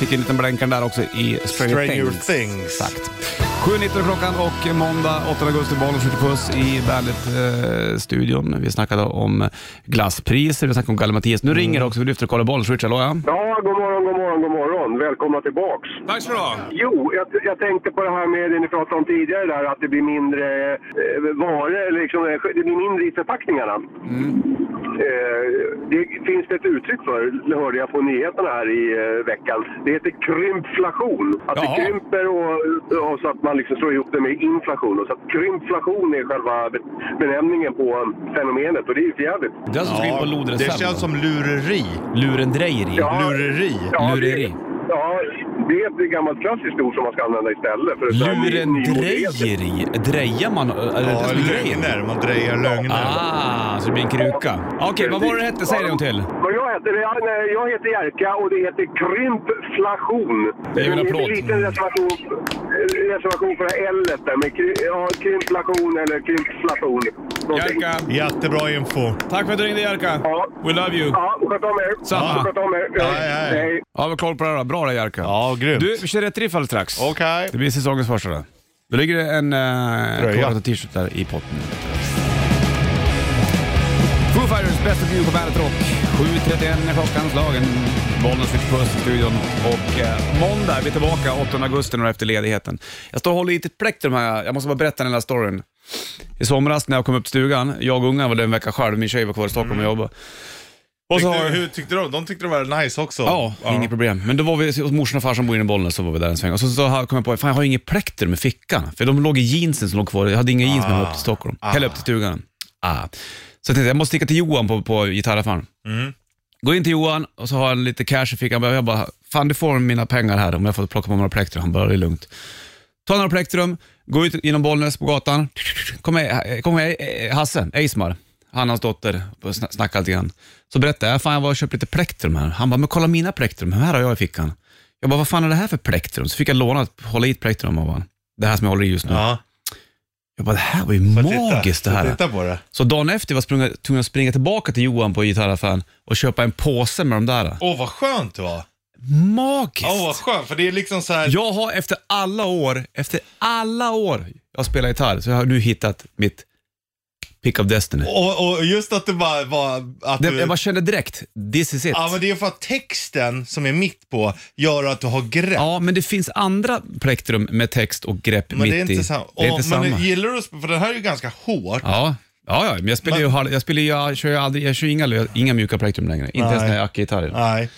Speaker 2: Fick en liten blänkan där också i Stranger,
Speaker 3: Stranger
Speaker 2: Things.
Speaker 3: Things.
Speaker 2: Exakt. 7.19 klockan och måndag 8 augusti, bollen skjuter puss i Bandet-studion. vi snackade om glasspriser, vi snackade om Galle Mattias. Nu
Speaker 3: Mm.
Speaker 2: ringer det också, vi lyfter och kollar bollen. Switch, hallå ja.
Speaker 5: Ja, god morgon, god morgon, god morgon. Välkomna tillbaks.
Speaker 2: Tack så du ha.
Speaker 5: Jo, jag, jag tänkte på det här med det ni pratade om tidigare där, att det blir mindre eh, varor, liksom, eh, det blir mindre i förpackningarna.
Speaker 2: Mm.
Speaker 5: Eh, det finns det ett uttryck för, det hörde jag på nyheterna här i eh, veckan. Det heter krympflation. Att
Speaker 2: Jaha.
Speaker 5: det krymper och, och så att man liksom slår ihop det med inflation. Och så att krympflation är själva be- benämningen på fenomenet och det är ju för jävligt.
Speaker 2: Det är alltså ska in på lodrätt
Speaker 3: det känns som lureri.
Speaker 2: Lurendrejeri.
Speaker 5: Ja.
Speaker 3: Lureri.
Speaker 2: Lureri.
Speaker 5: Det, ja, det är ett gammalt klassiskt ord som man ska använda istället. För ett sånt här ny- nymodighet.
Speaker 2: Lurendrejeri? Drejar man? eh, Är det det
Speaker 3: Ja,
Speaker 2: som är grejen?
Speaker 3: lögner. Man drejar lögner.
Speaker 2: Ah, så det blir en kruka. Okej, vad var det hette? Säg det en gång till.
Speaker 5: Vad jag heter, ja, nej, jag heter Jerka och det heter krympflation.
Speaker 2: Det är väl en
Speaker 5: en
Speaker 2: applåd.
Speaker 5: liten reservation, reservation för det här L där med kry, ja, krympflation eller krympflation. Någonting.
Speaker 2: Jerka,
Speaker 3: Jättebra info.
Speaker 2: tack för att du ringde Jerka.
Speaker 5: Ja.
Speaker 2: We love you.
Speaker 5: Ja, sköt om er.
Speaker 2: Samma.
Speaker 5: Sköt om er. Ja,
Speaker 3: Hej, hej.
Speaker 2: Ja, vi har koll på det här då. Bra det Jerka.
Speaker 3: Ja, grymt.
Speaker 2: Du, vi kör rätt riff alldeles strax.
Speaker 3: Okej.
Speaker 2: Det blir säsongens första då. Då ligger det en
Speaker 3: Tröja.
Speaker 2: uh, t-shirt där i potten. Foo Fighters, Best of You på Bandet Rock. 7.31 är klockan slagen. Bollnäs fick puss i studion. Och eh, måndag är vi tillbaka 8 augusti, några efter ledigheten. Jag står och håller i ett plektrum här. Jag måste bara berätta den här storyn. I somras när jag kom upp till stugan, jag och ungarna var där en vecka själv, min tjej var kvar i Stockholm och jobbade. Och så har-
Speaker 3: Mm. Tyckte, hur tyckte de? De tyckte det var nice också.
Speaker 2: Ja, inget problem. Men då var vi hos morsan och farsan bor inne i Bollnäs, så var vi där en sväng. Och så, så kom jag på, fan jag har inget plektrum i fickan. För de låg i jeansen som låg kvar. Jag hade inga jeans med mig upp till Stockholm. Eller upp till stugan. Ah. Så jag tänkte jag måste sticka till Johan på, på gitarraffären. Går in till Johan och så har han lite cash i fickan. Jag bara, fan du får mina pengar här om jag får plocka på mig några plektrum. Han bara, det är lugnt. Ta några plektrum, gå ut genom Bollnäs på gatan. Kom med, kom med eh, Hasse, Eismar, han och hans dotter, och sna- snackade lite grann. Så berättade jag, fan jag var och köpte lite plektrum här. Han bara, men kolla mina plektrum, här har jag i fickan. Jag bara, vad fan är det här för plektrum? Så fick jag låna ett hålla i ett plektrum av honom. Det här som jag håller i just nu.
Speaker 3: Ja.
Speaker 2: Jag bara, det här var ju
Speaker 3: Får jag titta?
Speaker 2: magiskt
Speaker 3: Får
Speaker 2: det
Speaker 3: jag
Speaker 2: här.
Speaker 3: Titta på det.
Speaker 2: Så dagen efter var jag sprunga- tvungen att springa tillbaka till Johan på gitarraffären och köpa en påse med de där.
Speaker 3: Åh, vad skönt det var.
Speaker 2: Magiskt!
Speaker 3: Åh, vad skönt. För det är liksom så här...
Speaker 2: Jag har efter alla år, efter alla år jag spelar gitarr, så jag har nu hittat mitt pick of destiny.
Speaker 3: Och, och just att det bara var... Att
Speaker 2: Det,
Speaker 3: du...
Speaker 2: jag bara kände direkt, this is it.
Speaker 3: Ja, men det är för att texten som är mitt på gör att du har grepp.
Speaker 2: Ja, men det finns andra plektrum med text och grepp
Speaker 3: men
Speaker 2: mitt
Speaker 3: det är
Speaker 2: i.
Speaker 3: inte samma.
Speaker 2: Det är inte
Speaker 3: men
Speaker 2: samma.
Speaker 3: gillar du att sp- för den här är ju ganska hårt.
Speaker 2: Ja. Ja, ja, men jag spelar ju, hal- jag spelar ju, jag kör ju aldrig, jag kör ju inga, lö- inga mjuka plektrum längre. Inte ens när jag ackar gitarr.
Speaker 3: Nej.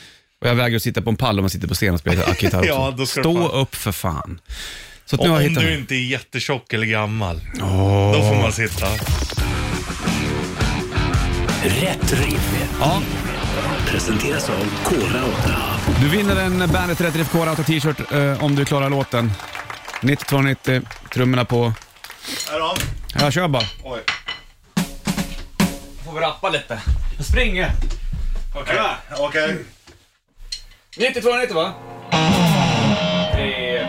Speaker 2: Och jag vägrar att sitta på en pall om man sitter på scen och spelar ackgitarr också.
Speaker 3: Ja, då ska du
Speaker 2: Stå
Speaker 3: fan-
Speaker 2: upp för fan. Så att nu
Speaker 3: Och
Speaker 2: har
Speaker 3: om
Speaker 2: jag hittat...
Speaker 3: du inte är jättetjock eller gammal, då får man sitta.
Speaker 4: Rätt riff.
Speaker 2: Ja,
Speaker 4: Presenteras av Kora 8.
Speaker 2: du vinner en Bandet Rätt Riff Core Auto t-shirt eh, om du klarar låten. 9290, trummorna på.
Speaker 3: Här då.
Speaker 2: Jag kör bara.
Speaker 3: Oj.
Speaker 2: Får vi rappa lite? Jag springer.
Speaker 3: Okej. Okej.
Speaker 2: 9290 va? Tre...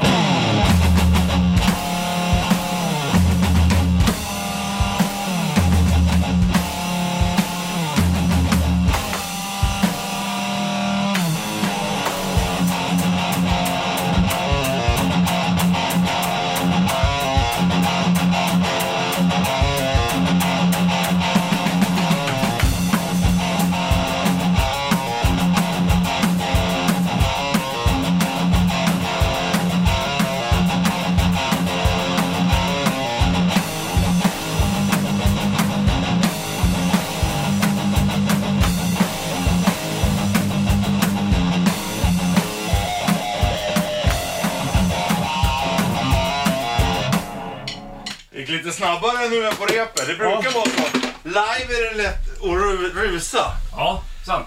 Speaker 3: gick lite snabbare nu än på repet. Det brukar vara så. Live är det lätt att ru- rusa.
Speaker 2: Ja, sant.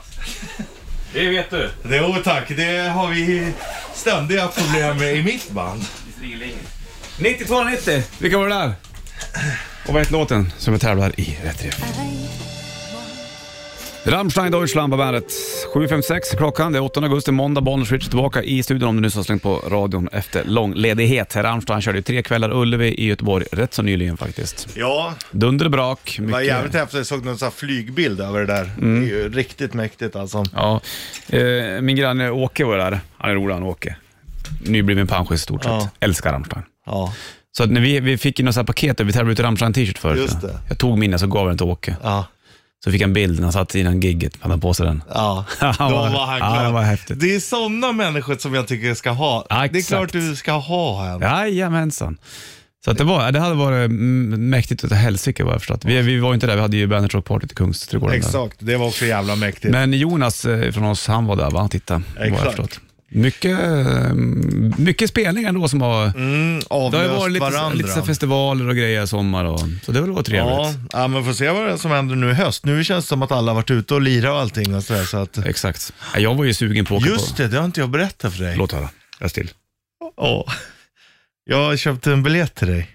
Speaker 2: Det vet du.
Speaker 3: Det, oh, tack. Det har vi ständiga problem med i mitt band.
Speaker 2: 9290, vilka var det där? Och vad heter låten som jag tävlar i Rätt Riff? Rammstein Deutschland på bandet. 7.56 klockan, det är 8 augusti, måndag, Bonniers Rich tillbaka i studion om du nyss har slängt på radion efter lång ledighet. Rammstein körde ju tre kvällar Ullevi i Göteborg rätt så nyligen faktiskt.
Speaker 3: Ja,
Speaker 2: Dunderbrak,
Speaker 3: det var
Speaker 2: mycket... Mm.
Speaker 3: jävligt häftigt. Jag såg någon sån här flygbild över det där. Det är ju riktigt mäktigt alltså.
Speaker 2: Ja. Eh, min granne Åke var där, han är rolig han Åke. Nybliven panschis i stort sett.
Speaker 3: Ja.
Speaker 2: Älskar Rammstein.
Speaker 3: Ja.
Speaker 2: Så att när vi, vi fick ju något så här paket där vi tävlade ut Rammstein t-shirt förut.
Speaker 3: Just det.
Speaker 2: Jag tog min och så gav jag den till Åke.
Speaker 3: Ja.
Speaker 2: Så fick jag en bild när han satt innan gigget. Han hade på sig den.
Speaker 3: Ja,
Speaker 2: Han
Speaker 3: då
Speaker 2: var-
Speaker 3: var han
Speaker 2: ja,
Speaker 3: glad.
Speaker 2: det var häftigt.
Speaker 3: Det är sådana människor som jag tycker ska ha.
Speaker 2: Ja,
Speaker 3: det är
Speaker 2: exakt.
Speaker 3: klart du ska ha en.
Speaker 2: Jajamensan. Så att det, var, det hade varit mm, mäktigt utav helsike vad jag förstått. Vi, vi var ju inte där, vi hade ju Bandit Rock Party i Kungsträdgården. där.
Speaker 3: Exakt, det var också jävla mäktigt.
Speaker 2: Men Jonas eh, från oss, han var där va? Han tittade, vad jag
Speaker 3: Exakt.
Speaker 2: förstått. Mycket, eh, mycket spelningar ändå som har...
Speaker 3: Mm,
Speaker 2: Det har ju
Speaker 3: avlöst
Speaker 2: varit lite,
Speaker 3: varandra.
Speaker 2: lite så här festivaler och grejer i sommar och, så det var väl trevligt.
Speaker 3: ja, ja, men får se vad det är som händer nu i höst. Nu känns det som att alla har varit ute och lirat och allting och sådär. Så att...
Speaker 2: Exakt. Ja, Jag var ju sugen på att åka
Speaker 3: Just
Speaker 2: på...
Speaker 3: det, det har inte jag berättat för dig.
Speaker 2: Låt höra. Jag still.
Speaker 3: Ja. Jag köpte en biljett till dig.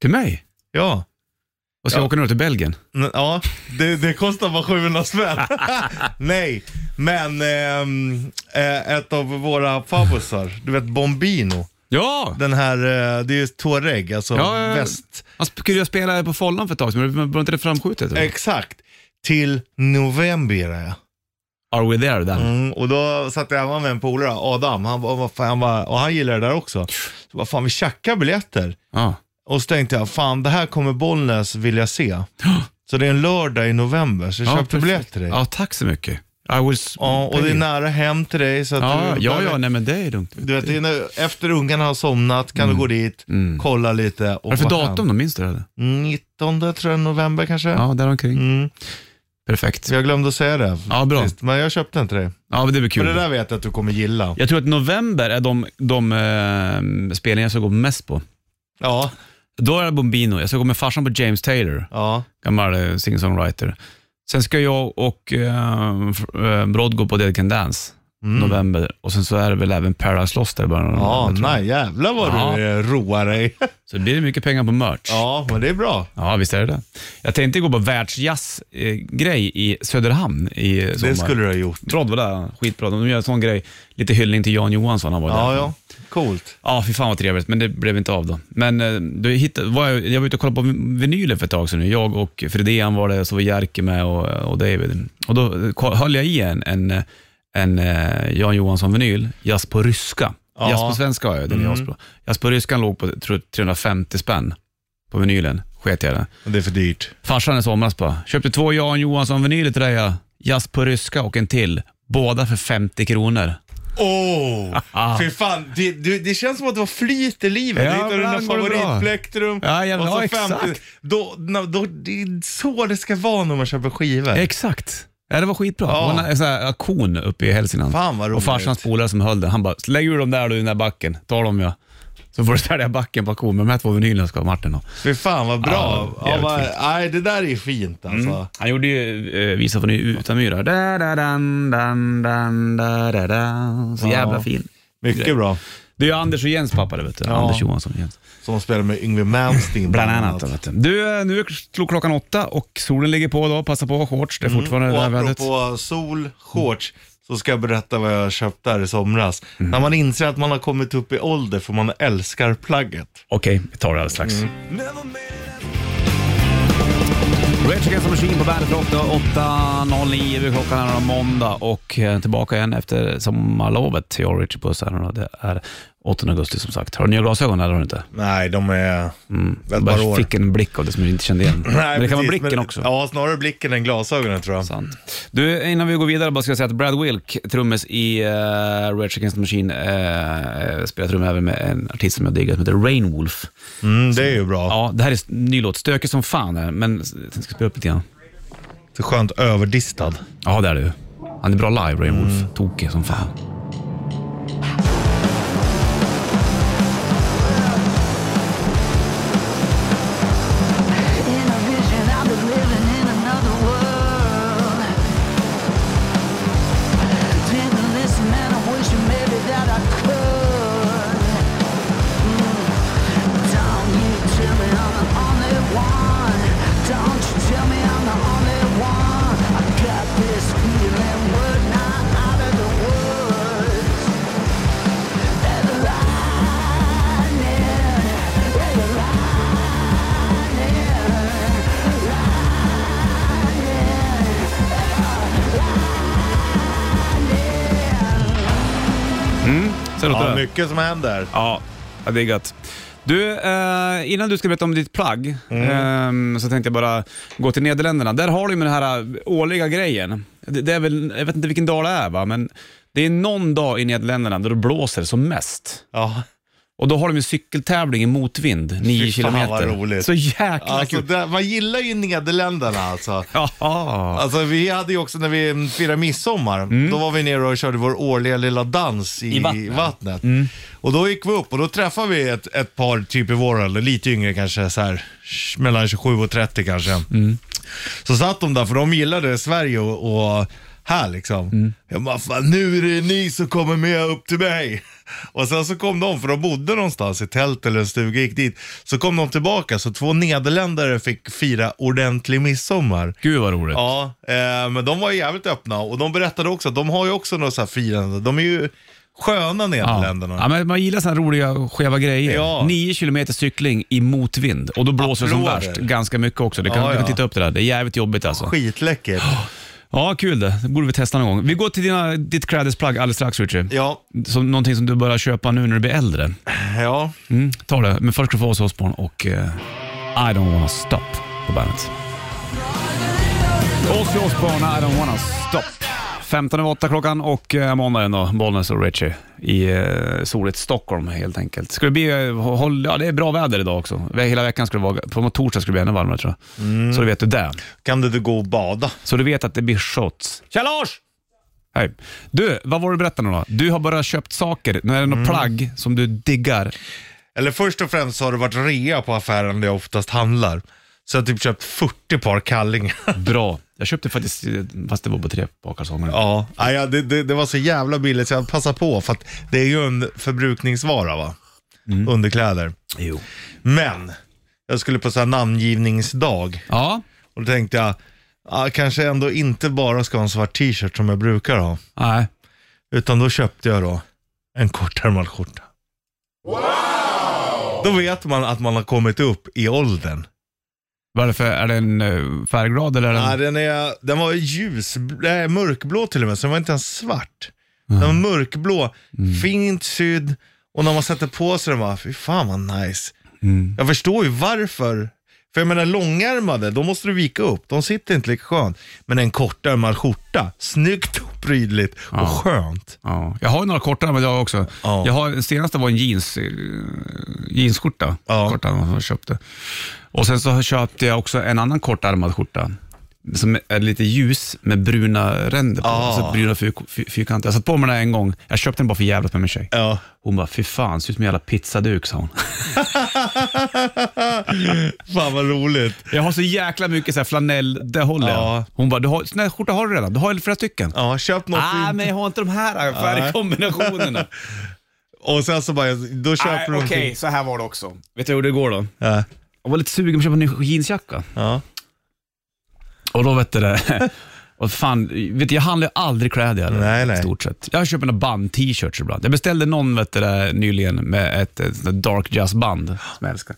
Speaker 2: Till mig?
Speaker 3: Ja.
Speaker 2: Och ska jag åka ner till Belgien?
Speaker 3: N- Ja, det, det kostar bara 700 spänn. Nej, men ehm, eh, ett av våra favvisar, du vet Bombino.
Speaker 2: Ja!
Speaker 3: Den här, eh, det är ju Touareg, alltså
Speaker 2: Ja, ja, ja.
Speaker 3: väst.
Speaker 2: Han skulle ju spela på Follan för ett tag sedan, men var inte det framskjutet? eller?
Speaker 3: Exakt. Till november är jag.
Speaker 2: Are we there then?
Speaker 3: Mm, och då satt jag hemma med en polare, Adam, han, bara, vad fan, han bara, och han gillar det där också. Så bara, fan vi tjackar biljetter.
Speaker 2: Ja.
Speaker 3: Och så tänkte jag, fan det här kommer Bollnäs vilja se. Så det är en lördag i november, så jag
Speaker 2: Ja,
Speaker 3: köpte
Speaker 2: perfekt.
Speaker 3: biljett till dig.
Speaker 2: Ja, tack så mycket. I was...
Speaker 3: Ja, och det är nära hem till dig. Så att
Speaker 2: Ja,
Speaker 3: du,
Speaker 2: ja, ja, nej men det är lugnt.
Speaker 3: Du vet, det är när, efter ungarna har somnat kan du gå dit, kolla lite. Och
Speaker 2: Vad är det Mm. för
Speaker 3: vara
Speaker 2: datum då? Minns du det? eller?
Speaker 3: hem. 19 tror jag, november kanske.
Speaker 2: Ja, däromkring.
Speaker 3: Mm.
Speaker 2: Perfekt.
Speaker 3: Så jag glömde att säga det.
Speaker 2: Ja, bra.
Speaker 3: Sist, men jag köpte inte dig.
Speaker 2: Ja, men det blir
Speaker 3: Men
Speaker 2: kul.
Speaker 3: det där vet jag att du kommer gilla.
Speaker 2: Jag tror att november är de, de eh, spelningar som jag går mest på.
Speaker 3: Ja,
Speaker 2: Då är det Bombino. Jag ska gå med farsan på James Taylor,
Speaker 3: ja.
Speaker 2: gammal eh, singer-songwriter. Sen ska jag och eh, f- eh, Brodd gå på Dead Can Dance november och sen så är det väl även Paradise Lost där i början av
Speaker 3: Mm. Ja,
Speaker 2: november, tror jag.
Speaker 3: nej jävlar vad
Speaker 2: Ja.
Speaker 3: du eh, roar dig.
Speaker 2: Så det blir mycket pengar på merch.
Speaker 3: ja, men det är bra.
Speaker 2: Ja, visst är det det. Jag tänkte gå på världsjazzgrej i Söderhamn i sommar.
Speaker 3: Det skulle du ha gjort.
Speaker 2: Brodd var där, skitbra. De gör en sån grej, lite hyllning till Jan Johansson, han var
Speaker 3: Ja,
Speaker 2: där.
Speaker 3: ja. Coolt.
Speaker 2: Ja, fy fan vad trevligt, men det blev inte av då. Men eh, då hittade, var jag, jag var ute och kollade på vin- vinyler för ett tag sedan. nu. Jag och Fredén var det, så var Jerker med och, och David. Och då eh, ko- höll jag i en, en, eh, en eh, Jan Johansson-vinyl, Jazz på ryska.
Speaker 3: Ja.
Speaker 2: Jazz på svenska har jag, den är mm. Jazz på ryskan låg på tror, 350 spänn på vinylen, sket jag i det.
Speaker 3: Men Det är för dyrt.
Speaker 2: Farsan i somras bara, köpte två Jan Johansson-vinyler till dig, ja. Jazz på ryska och en till. Båda för 50 kronor.
Speaker 3: Åh! Oh, fy fan, det, du, det känns som att du har flyt i livet.
Speaker 2: Ja,
Speaker 3: du hittar
Speaker 2: men
Speaker 3: dina
Speaker 2: ibland går det bra.
Speaker 3: favoritplektrum.
Speaker 2: Ja, jävlar,
Speaker 3: och så
Speaker 2: ja, exakt.
Speaker 3: 50 Då, na- då, det är så det ska vara när man köper skivor.
Speaker 2: Exakt. Ja, det var skitbra.
Speaker 3: Ja.
Speaker 2: Det var en sån här auktion uppe i Hälsingland.
Speaker 3: Fan, vad roligt.
Speaker 2: Och farsans polare som höll den, han bara, lägg ur dem där du i den där backen, ta dem ja. Så får du sälja backen på auktion, men de här två vinylerna ska Martin ha.
Speaker 3: Fy fan vad bra.
Speaker 2: Ja,
Speaker 3: Ja,
Speaker 2: jävligt
Speaker 3: vad,
Speaker 2: fint. Mm.
Speaker 3: nej, det där är fint alltså.
Speaker 2: Han gjorde ju eh, Visa från Utanmyra. Da, da, dan, dan, dan, da, da, da. Så
Speaker 3: Ja.
Speaker 2: jävla fin.
Speaker 3: Mycket bra.
Speaker 2: Det är ju Anders och Jens pappa det vet du.
Speaker 3: Ja.
Speaker 2: Anders Johansson och Jens.
Speaker 3: Som spelar med Yngwie Malmsteen.
Speaker 2: Bland annat. Vet du. du, eh, nu slog klockan åtta och solen ligger på då. Passa på shorts, det är fortfarande
Speaker 3: Och
Speaker 2: det där vädret.
Speaker 3: Mm. apropå sol, shorts, så ska jag berätta vad jag köpte här i somras.
Speaker 2: Mm.
Speaker 3: När man inser att man har kommit upp i ålder för man älskar plagget.
Speaker 2: Okej, vi tar det alldeles strax. Rage Against the Machine på bandet för 8.09 vid klockan är det måndag och eh, tillbaka igen efter sommarlovet. Jag och Richard Puss här nu då. Det är 8 augusti som sagt. Har du nya glasögon eller har du inte?
Speaker 3: Nej, de är
Speaker 2: Jag
Speaker 3: ett par
Speaker 2: bara
Speaker 3: år.
Speaker 2: fick en blick av det som jag inte kände igen.
Speaker 3: Nej,
Speaker 2: men det kan vara
Speaker 3: precis,
Speaker 2: blicken
Speaker 3: men-
Speaker 2: också.
Speaker 3: Ja, snarare blicken än glasögonen tror jag.
Speaker 2: Sant. Du, innan vi går vidare bara ska jag säga att Brad Wilk, trummis i uh, Rage Against the Machine, eh, spelar trummor även med en artist som jag diggar som heter Rainwolf.
Speaker 3: Mm, det är ju bra.
Speaker 2: Ja, det här är en ny låt. Stökig som fan är den, men jag ska spela upp lite grann.
Speaker 3: Så skönt överdistad.
Speaker 2: Ja, det är du. Han är bra live, Ray Wolf.
Speaker 3: Mm.
Speaker 2: Tokig som fan.
Speaker 6: In a vision, I was living in another world. Didn't listen, and I wish maybe that I could. Mm. Don't you tell me I'm the only one. Don't you tell me I'm the only one. I got this feeling we're not out of the woods. And lightning, and
Speaker 2: Så låter
Speaker 3: Ja,
Speaker 2: det.
Speaker 3: mycket som händer.
Speaker 2: Ja, jag diggat. Du, eh, innan du ska berätta om ditt plagg
Speaker 3: Mm.
Speaker 2: ehm, så tänkte jag bara gå till Nederländerna. Där har du ju med den här eh, årliga grejen. Det, det är väl, jag vet inte vilken dag det är va, men det är någon dag i Nederländerna då det blåser som mest.
Speaker 3: Ja.
Speaker 2: Och då har de en cykeltävling i motvind, 9
Speaker 3: fan,
Speaker 2: kilometer.
Speaker 3: vad roligt.
Speaker 2: Så jäkla
Speaker 3: Alltså,
Speaker 2: kul.
Speaker 3: där, man gillar ju Nederländerna alltså.
Speaker 2: Jaha.
Speaker 3: Alltså vi hade ju också när vi firade midsommar, då var vi nere och körde vår årliga lilla dans i,
Speaker 2: I vattnet.
Speaker 3: vattnet. Och då gick vi upp och då träffade vi ett, ett par typ i vår ålder, lite yngre kanske, så här, sh- mellan 27 och 30 kanske. Så satt de där för de gillade Sverige och, och här liksom. Jag bara, fan, nu är det ni som kommer med upp till mig. Och sen så kom de, för de bodde någonstans i tält eller en stuga, gick dit. Så kom de tillbaka, så två nederländare fick fira ordentlig midsommar.
Speaker 2: Gud vad roligt.
Speaker 3: Ja, eh, men de var ju jävligt öppna och de berättade också att de har ju också något så här firande. De är ju sköna Nederländerna.
Speaker 2: Ja, men man gillar sådana roliga skeva grejer.
Speaker 3: Ja.
Speaker 2: Nio kilometer cykling i motvind och då blåser det som
Speaker 3: Applåder.
Speaker 2: värst ganska mycket också. Det kan,
Speaker 3: Ja,
Speaker 2: Du kan
Speaker 3: ja.
Speaker 2: titta upp det där. Det är jävligt jobbigt alltså.
Speaker 3: Skitläckert.
Speaker 2: Ja, kul det. Det borde vi testa någon gång. Vi går till dina, ditt klädesplagg alldeles strax Richie.
Speaker 3: Ja,
Speaker 2: Som, någonting som du börjar köpa nu när du blir äldre.
Speaker 3: ja.
Speaker 2: Mm, ta det. Men först ska du få oss Osbourne och eh, I don't wanna stop på bandet. Ozzy Osbourne, I don't wanna stop. 15 över 8 klockan och eh, måndagen då, Bollnäs och Richie i eh, soligt Stockholm helt enkelt. Ska det bli, eh, håll, ja det är bra väder idag också. Vä- Hela veckan ska det vara, på torsdag ska det bli ännu varmare tror jag. Så du vet du det.
Speaker 3: Kan du inte gå och bada?
Speaker 2: Så du vet att det blir shots. Tja Lars! Hej. Du, vad var det du berättade nu då? Du har bara köpt saker, nu är det något plagg som du diggar.
Speaker 3: Eller först och främst så har det varit rea på affären där jag oftast handlar. Så jag har typ köpt 40 par kallingar.
Speaker 2: Bra. Jag köpte faktiskt, eh, fast det var på tre bakarsonger.
Speaker 3: Ja, nej, ja det, det, det var så jävla billigt så jag passade på för att det är ju en förbrukningsvara va? Underkläder.
Speaker 2: Jo.
Speaker 3: Men, jag skulle på så här namngivningsdag
Speaker 2: Ja,
Speaker 3: och då tänkte jag, ah, kanske ändå inte bara ska ha en svart t-shirt som jag brukar ha.
Speaker 2: nej.
Speaker 3: Utan då köpte jag då en kortärmad skjorta. Wow! Då vet man att man har kommit upp i åldern.
Speaker 2: Varför? Är det en eh, färggrad eller? Är det en...
Speaker 3: Ja, den, är, den var ljus, nej, mörkblå till och med, så den var inte ens svart. Den
Speaker 2: Mm.
Speaker 3: var mörkblå, fint sydd och när man sätter på sig den var, fy fan vad nice.
Speaker 2: Mm.
Speaker 3: Jag förstår ju varför. För jag menar långärmade, då måste du vika upp, de sitter inte lika skönt. Men en kortärmad skjorta, snyggt och prydligt och skönt.
Speaker 2: Ja. Jag har ju några kortare men jag har också.
Speaker 3: Ja.
Speaker 2: Jag har, den senaste var en jeans, eh, jeansskjorta.
Speaker 3: Ja.
Speaker 2: Kortärmad som jag köpte. Och sen så köpte jag också en annan kortärmad skjorta. Som är lite ljus med bruna ränder på.
Speaker 3: Ja.
Speaker 2: Så bruna fyr, fyr, fyrkanter. Jag satt på mig den här en gång. Jag köpte den bara för jävligt med min tjej.
Speaker 3: Ja.
Speaker 2: Hon bara, fy fan, ser ut som en jävla pizzaduk, sa hon.
Speaker 3: fan vad roligt.
Speaker 2: Jag har så jäkla mycket så här flanell, det håller jag.
Speaker 3: Ja.
Speaker 2: Hon bara, du har, sån här skjorta har du redan. Du har ju flera stycken.
Speaker 3: Ja, köp något
Speaker 2: Ah,
Speaker 3: fint.
Speaker 2: men jag har inte de här färgkombinationerna.
Speaker 3: Och sen så bara, då köper
Speaker 2: Nej,
Speaker 3: du
Speaker 2: Ah, Okej,
Speaker 3: någonting.
Speaker 2: så här var det också. Vet du hur det går då?
Speaker 3: Ja.
Speaker 2: Jag var lite sugen på att köpa en ny jeansjacka.
Speaker 3: Ja.
Speaker 2: Och då vet du det. Och fan, vet du, jag handlar ju aldrig kläder eller,
Speaker 3: Nej, nej.
Speaker 2: stort sett. Jag köper några band-t-shirts ibland. Jag beställde någon vet du, det, nyligen med ett, ett sånt där dark jazz-band som jag älskar.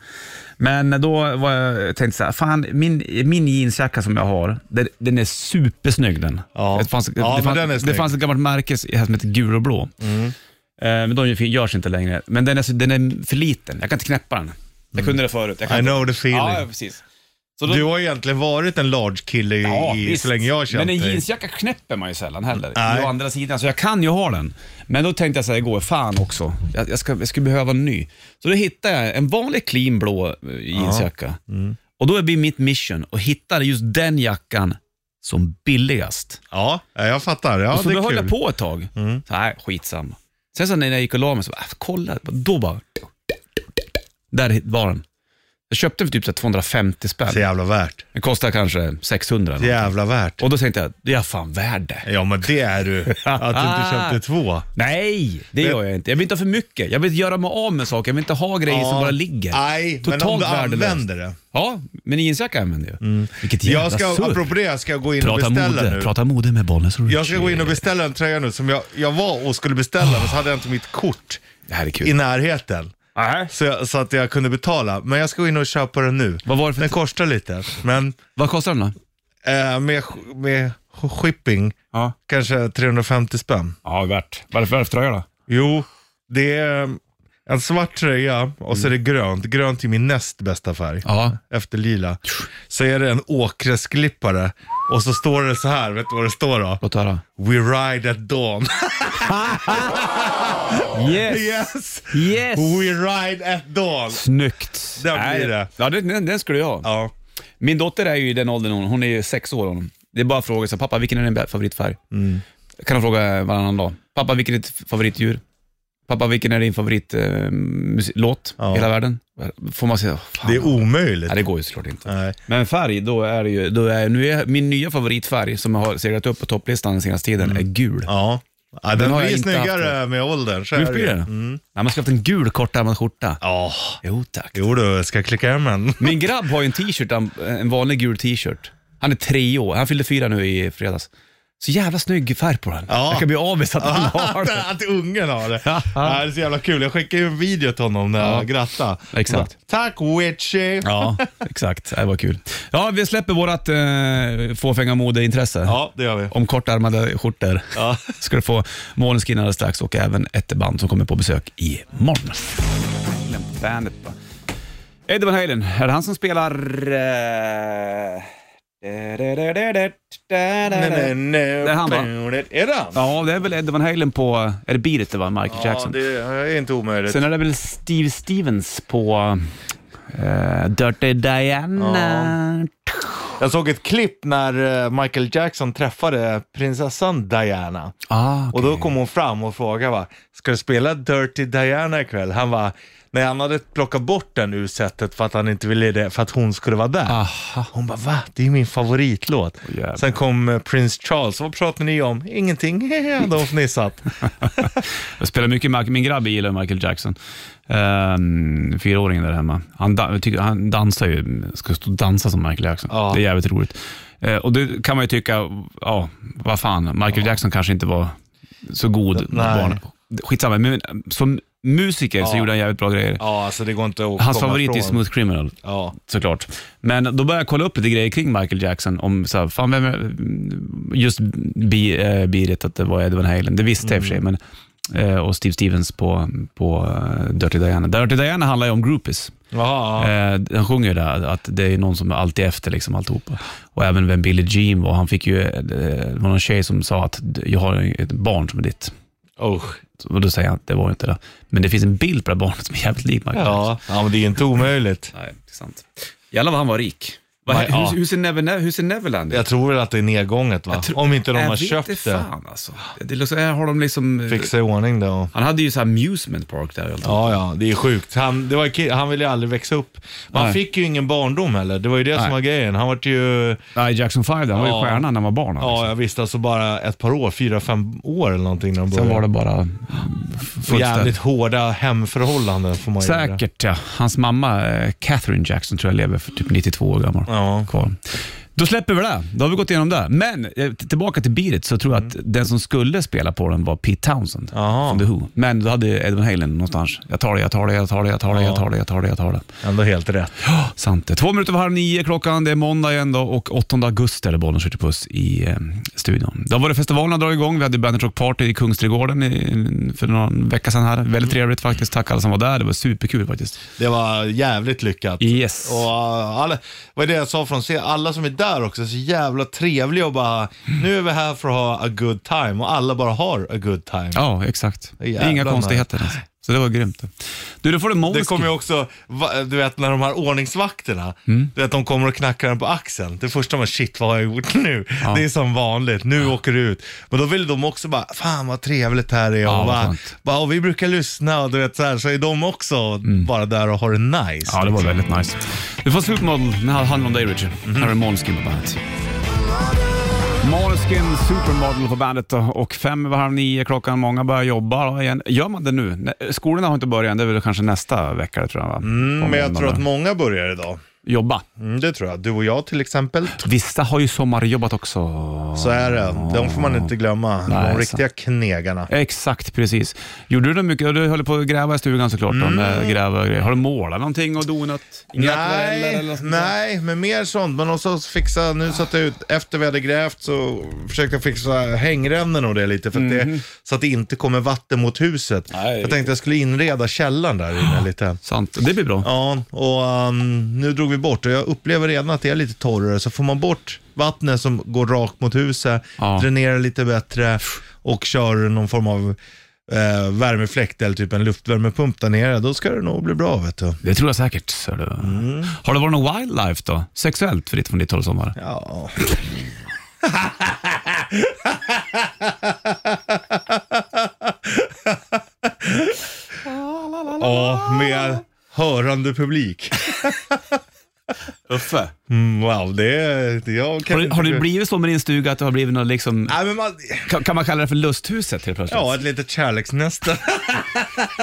Speaker 2: Men då var jag, jag tänkte så här, fan min, min jeansjacka som jag har, den, den är supersnygg den.
Speaker 3: Ja.
Speaker 2: Det, fanns,
Speaker 3: Ja,
Speaker 2: det,
Speaker 3: men
Speaker 2: fanns,
Speaker 3: den är
Speaker 2: det
Speaker 3: snygg. Mm.
Speaker 2: fanns ett gammalt märke här som heter gul och blå. Eh, Men de görs inte längre. Men den är, så- den är för liten, jag kan inte knäppa den. Jag kunde det förut. Jag kan
Speaker 3: I
Speaker 2: inte-
Speaker 3: know the feeling.
Speaker 2: Ja, precis. Så då-
Speaker 3: Du har egentligen varit en large kille i, i,
Speaker 2: visst.
Speaker 3: så länge jag har känt
Speaker 2: Men en
Speaker 3: dig.
Speaker 2: jeansjacka knäpper man ju sällan heller.
Speaker 3: Nej.
Speaker 2: Å andra sidan, så jag kan ju ha den. Men då tänkte jag så här igår, fan också. Jag, jag, ska, jag skulle behöva en ny. Så då hittade jag en vanlig clean blå eh, jeansjacka.
Speaker 3: Mm.
Speaker 2: Och då blir mitt mission att hitta just den jackan som billigast.
Speaker 3: Ja, ja, jag fattar. Ja,
Speaker 2: och så
Speaker 3: det är
Speaker 2: höll
Speaker 3: kul. Mm.
Speaker 2: jag på ett tag. Så här, skitsamma. Sen så när jag gick och la mig, så bara, äh, kolla. Då bara... Där var den. Jag köpte den för typ så här 250
Speaker 3: Så
Speaker 2: spänn.
Speaker 3: jävla värt.
Speaker 2: Den kostar kanske 600.
Speaker 3: Så jävla värt.
Speaker 2: Och då tänkte jag, det är jag fan värd det.
Speaker 3: Ja, men det är du. Att du inte köpte två.
Speaker 2: Nej, det gör jag inte. Jag vill inte ha för mycket. Jag vill göra mig av med saker. Jag vill inte ha grejer som
Speaker 3: Ja.
Speaker 2: bara ligger.
Speaker 3: Nej, men om du
Speaker 2: värdelöst.
Speaker 3: använder det.
Speaker 2: Ja, men jeansjacka använder jag. Vilket jävla
Speaker 3: Jag ska,
Speaker 2: surr.
Speaker 3: apropå det, jag ska gå in och
Speaker 2: Prata
Speaker 3: beställa
Speaker 2: mode.
Speaker 3: nu.
Speaker 2: Prata mode med Bollnäs och
Speaker 3: Jag ska
Speaker 2: Richie.
Speaker 3: gå in och beställa en tröja nu som jag, jag var och skulle beställa, men så hade jag inte mitt kort
Speaker 2: Det här är
Speaker 3: i
Speaker 2: kul.
Speaker 3: närheten.
Speaker 2: Nej.
Speaker 3: Så, jag, så att jag kunde betala. Men jag ska gå in och köpa den nu.
Speaker 2: Vad var det för-
Speaker 3: Den kostar lite, men
Speaker 2: Vad kostar den då?
Speaker 3: eh, med, med shipping
Speaker 2: Ja,
Speaker 3: kanske 350 spänn.
Speaker 2: ja värt. Vad är det för tröja då?
Speaker 3: Jo, det är en svart tröja och så är det grönt. Grönt är min näst bästa färg.
Speaker 2: Mm. Ja.
Speaker 3: Efter lila. Så är det en åkgräsklippare och så står det så här, vet du vad det står då?
Speaker 2: Låt höra.
Speaker 3: We ride at dawn.
Speaker 2: Yes!
Speaker 3: yes!
Speaker 2: Yes!
Speaker 3: We ride at dawn.
Speaker 2: Snyggt.
Speaker 3: Där blir
Speaker 2: Nej,
Speaker 3: det.
Speaker 2: Ja, den, den, den skulle jag ha.
Speaker 3: Ja.
Speaker 2: Min dotter är ju i den åldern, hon, hon är ju sex år. Hon. Det är bara att fråga sig, pappa vilken är din favoritfärg?
Speaker 3: Mm.
Speaker 2: kan hon fråga varannan dag. Pappa vilken är ditt favoritdjur? Pappa vilken är din favoritlåt i
Speaker 3: Ja.
Speaker 2: hela världen? Får man säga, fan.
Speaker 3: Det är omöjligt.
Speaker 2: Nej, det går ju såklart inte.
Speaker 3: Nej.
Speaker 2: Men färg, då är det ju, då är, nu är min nya favoritfärg som har seglat upp på topplistan den senaste tiden, är gul.
Speaker 3: Mm. Ja. ja den
Speaker 2: har jag
Speaker 3: blir
Speaker 2: inte
Speaker 3: snyggare med åldern. så är
Speaker 2: Visst blir
Speaker 3: ju.
Speaker 2: det? Mm. Nej, man ska ha haft en gul kortärmad skjorta.
Speaker 3: Ja.
Speaker 2: Jo tack.
Speaker 3: Jo du, jag ska klicka hem en.
Speaker 2: Min grabb har ju en t-shirt, en- en vanlig gul t-shirt. Han är tre år, han fyllde fyra nu i fredags. Så jävla snygg färg på den.
Speaker 3: Ja.
Speaker 2: Jag kan bli avis att han har den.
Speaker 3: att, att ungen har det. Ja, det är så jävla kul. Jag skickade ju en video till honom när jag grattade.
Speaker 2: Exakt.
Speaker 3: Så, Tack witchy!
Speaker 2: Ja, exakt. Det var kul. Ja, vi släpper vårt eh, fåfänga modeintresse.
Speaker 3: Ja, det gör vi.
Speaker 2: Om kortärmade skjortor.
Speaker 3: Ja.
Speaker 2: Ska du få Måneskin alldeles strax och även ett band som kommer på besök imorgon. Bandet va? Eddie Van Halen, är det han som spelar... eh, Det är han, va?
Speaker 3: Är det han?
Speaker 2: Ja, det är väl Eddie Van Halen på... Är det Beat It, va? Michael
Speaker 3: Ja,
Speaker 2: Jackson.
Speaker 3: det är inte omöjligt.
Speaker 2: Sen är det väl Steve Stevens på eh, Dirty Diana.
Speaker 3: Jag såg ett klipp när eh, Michael Jackson träffade prinsessan Diana.
Speaker 2: Ah,
Speaker 3: Och då kom hon fram och frågade va, ska du spela Dirty Diana ikväll? Han var Nej, han hade plockat bort den ur setet för att han inte ville det, för att hon skulle
Speaker 2: Ah.
Speaker 3: vara där.
Speaker 2: Aha.
Speaker 3: Hon bara, va? Det är ju min favoritlåt.
Speaker 2: jävlar.
Speaker 3: Sen kom eh, Prince Charles, vad pratar ni om? Ingenting, hade hon fnissat.
Speaker 2: Jag spelar mycket Michael, min grabb gillar Michael Jackson. Ehm, fyraåringen där hemma. Han, da, jag tycker- han dansar ju, ska stå och dansa som Michael Jackson.
Speaker 3: Ja.
Speaker 2: Det är jävligt roligt. Eh, och det kan man ju tycka, ja, vad fan, Michael Jackson kanske inte var så god när
Speaker 3: Nej.
Speaker 2: barn. Skitsamma, men som musiker så
Speaker 3: Ja.
Speaker 2: gjorde han jävligt bra grejer.
Speaker 3: Ja, alltså det går inte att
Speaker 2: Hans
Speaker 3: komma
Speaker 2: favorit är
Speaker 3: ifrån.
Speaker 2: Smooth Criminal.
Speaker 3: Ja.
Speaker 2: Såklart. Men då började jag kolla upp lite grejer kring Michael Jackson. Om så här, fan vem är, just bi, eh, biret att det var Edwin Halen. Det visste jag i och för
Speaker 3: Mm.
Speaker 2: sig. Men, eh, och Steve Stevens på, på eh, Dirty Diana. Dirty Diana handlar ju om groupies.
Speaker 3: Jaha, ja.
Speaker 2: Eh, den sjunger ju där att det är någon som är alltid efter liksom alltihopa. Och även vem Billie Jean var. Han fick ju, eh, det var någon tjej som sa att jag har ett barn som är ditt.
Speaker 3: Eh, Usch.
Speaker 2: Och då säger han att det var ju inte det. Men det finns en bild på det här barnet som är jävligt lik Michael Jackson.
Speaker 3: Ja. ja, men det är ju inte omöjligt.
Speaker 2: Nej, det är sant. Jävlar vad han var rik. Vad-
Speaker 3: Nej, ja.
Speaker 2: hur, hur, ser Never, hur ser Neverland ut?
Speaker 3: Jag tror väl att det är nedgånget va?
Speaker 2: tror-
Speaker 3: Om inte de
Speaker 2: Jag
Speaker 3: har
Speaker 2: vet
Speaker 3: köpt
Speaker 2: inte
Speaker 3: det.
Speaker 2: fan alltså. Det låter, här har de liksom...
Speaker 3: Fixa i ordning det och...
Speaker 2: Han hade ju så här amusement park där. Ja.
Speaker 3: Ja, ja, det är sjukt. Han, det var, ju ki- han ville ju aldrig växa upp. Man
Speaker 2: Nej.
Speaker 3: fick ju ingen barndom heller. Det var ju det
Speaker 2: Nej.
Speaker 3: som var grejen. Han var ju,
Speaker 2: Nej, Jackson 5 där. Han var
Speaker 3: Ja.
Speaker 2: ju stjärnan när han var barn. han,
Speaker 3: ja
Speaker 2: liksom.
Speaker 3: jag visste alltså bara ett par år, fyra, fem år eller någonting när de
Speaker 2: Sen
Speaker 3: började.
Speaker 2: var det bara mm,
Speaker 3: Jävligt
Speaker 2: fullständigt.
Speaker 3: hårda hemförhållanden får man ju göra.
Speaker 2: Säkert ja. Hans mamma eh, Catherine Jackson tror jag lever för typ 92 år gammal.
Speaker 3: Ja.
Speaker 2: Kvar. Då släpper vi det. Då har vi gått igenom det. Men eh, t- tillbaka till beatet så tror jag att
Speaker 3: Mm.
Speaker 2: den som skulle spela på den var Pete Townsend
Speaker 3: Jaha.
Speaker 2: från The Who. Men då hade Edwin Halen någonstans. Jag tar det, jag tar det, jag tar det, jag tar det, jag tar det, jag tar det, jag tar det.
Speaker 3: Ändå helt rätt.
Speaker 2: Ja, sant det. Två minuter över halv nio klockan. Det är måndag igen då och 8 augusti är det bollen skjuter puss i eh, studion. Då var det festivalen har dragit igång. Vi hade Bandit Rock Party i Kungsträdgården i, för någon vecka sedan här.
Speaker 3: Mm.
Speaker 2: Väldigt trevligt faktiskt. Tack alla som var där. Det var superkul faktiskt.
Speaker 3: Det var jävligt lyckat.
Speaker 2: Yes.
Speaker 3: Och uh, alla, vad är det jag sa från se alla som är där också är så jävla trevliga och bara, nu är vi här för att ha a good time och alla bara har a good time.
Speaker 2: Ja, exakt. Det är Inga
Speaker 3: Jävlar,
Speaker 2: konstigheter. Alltså. Så det var grymt. Du, då får du
Speaker 3: Det kommer ju
Speaker 2: Måneskin.
Speaker 3: också, va- du vet när de här ordningsvakterna,
Speaker 2: Mm.
Speaker 3: du vet de kommer och knackar den på axeln. Det första man, shit vad har jag gjort nu? Det är som vanligt, nu åker du ut. Men då vill de också bara, fan vad trevligt här är
Speaker 2: Ja,
Speaker 3: och
Speaker 2: vad
Speaker 3: bara,
Speaker 2: skönt.
Speaker 3: bara, och vi brukar lyssna och du vet så här, så är de också bara där och har det nice.
Speaker 2: Mm. Ja, det var väldigt nice. Mhm. Du får Supermodel när han handlar om dig, Richard. Här är Måneskin på bandet. Måneskin Supermodel på bandet då. och fem över halv nio klockan. Många börjar jobba igen. Gör man det nu? Nej, Skolorna har inte börjat än. Det är väl kanske nästa vecka, det tror jag. Va? På
Speaker 3: Mm, Men jag tror
Speaker 2: måndag.
Speaker 3: att många börjar idag.
Speaker 2: Jobba.
Speaker 3: Mm, det tror jag. Du och jag till exempel.
Speaker 2: Vissa har ju sommarjobbat också.
Speaker 3: Så är det. De får man inte glömma.
Speaker 2: Ah. Nej,
Speaker 3: De riktiga knegarna.
Speaker 2: Exakt, precis. Gjorde du det mycket? Ja, Du höll på att gräva i stugan såklart. Då, med gräva och grejer. Har du målat någonting och donat? Inga akvareller eller
Speaker 3: Mm. Nej,
Speaker 2: något sånt där?
Speaker 3: nej, men mer sånt. Men också fixa, nu satte jag ut, efter vi hade grävt så försökte jag fixa hängrännen och det lite. För att det, så att det inte kommer vatten mot huset.
Speaker 2: Mhm. Nej.
Speaker 3: Jag tänkte jag skulle inreda källaren där inne lite.
Speaker 2: Sant. Det blir bra.
Speaker 3: Ja, och ehm, nu drog vi bort och jag upplever redan att det är lite torrare. Så får man bort vattnet som går rakt mot huset,
Speaker 2: Ja.
Speaker 3: dränerar lite bättre och kör någon form av eh, värmefläkt eller typ en luftvärmepump där nere, då ska det nog bli bra vet du.
Speaker 2: Det tror jag säkert. Så det... Har det varit något wildlife då? Sexuellt fritt från ditt håll i sommar?
Speaker 3: Ja. ja, med hörande publik.
Speaker 2: Uffe.
Speaker 3: Mm, Wow, det är... det- Jag kan
Speaker 2: Har, det-
Speaker 3: inte-
Speaker 2: har det blivit så med din stuga att det har blivit något liksom...
Speaker 3: Nej, men man...
Speaker 2: Kan, kan man kalla det för lusthuset helt plötsligt?
Speaker 3: Ja, ett litet kärleksnäste.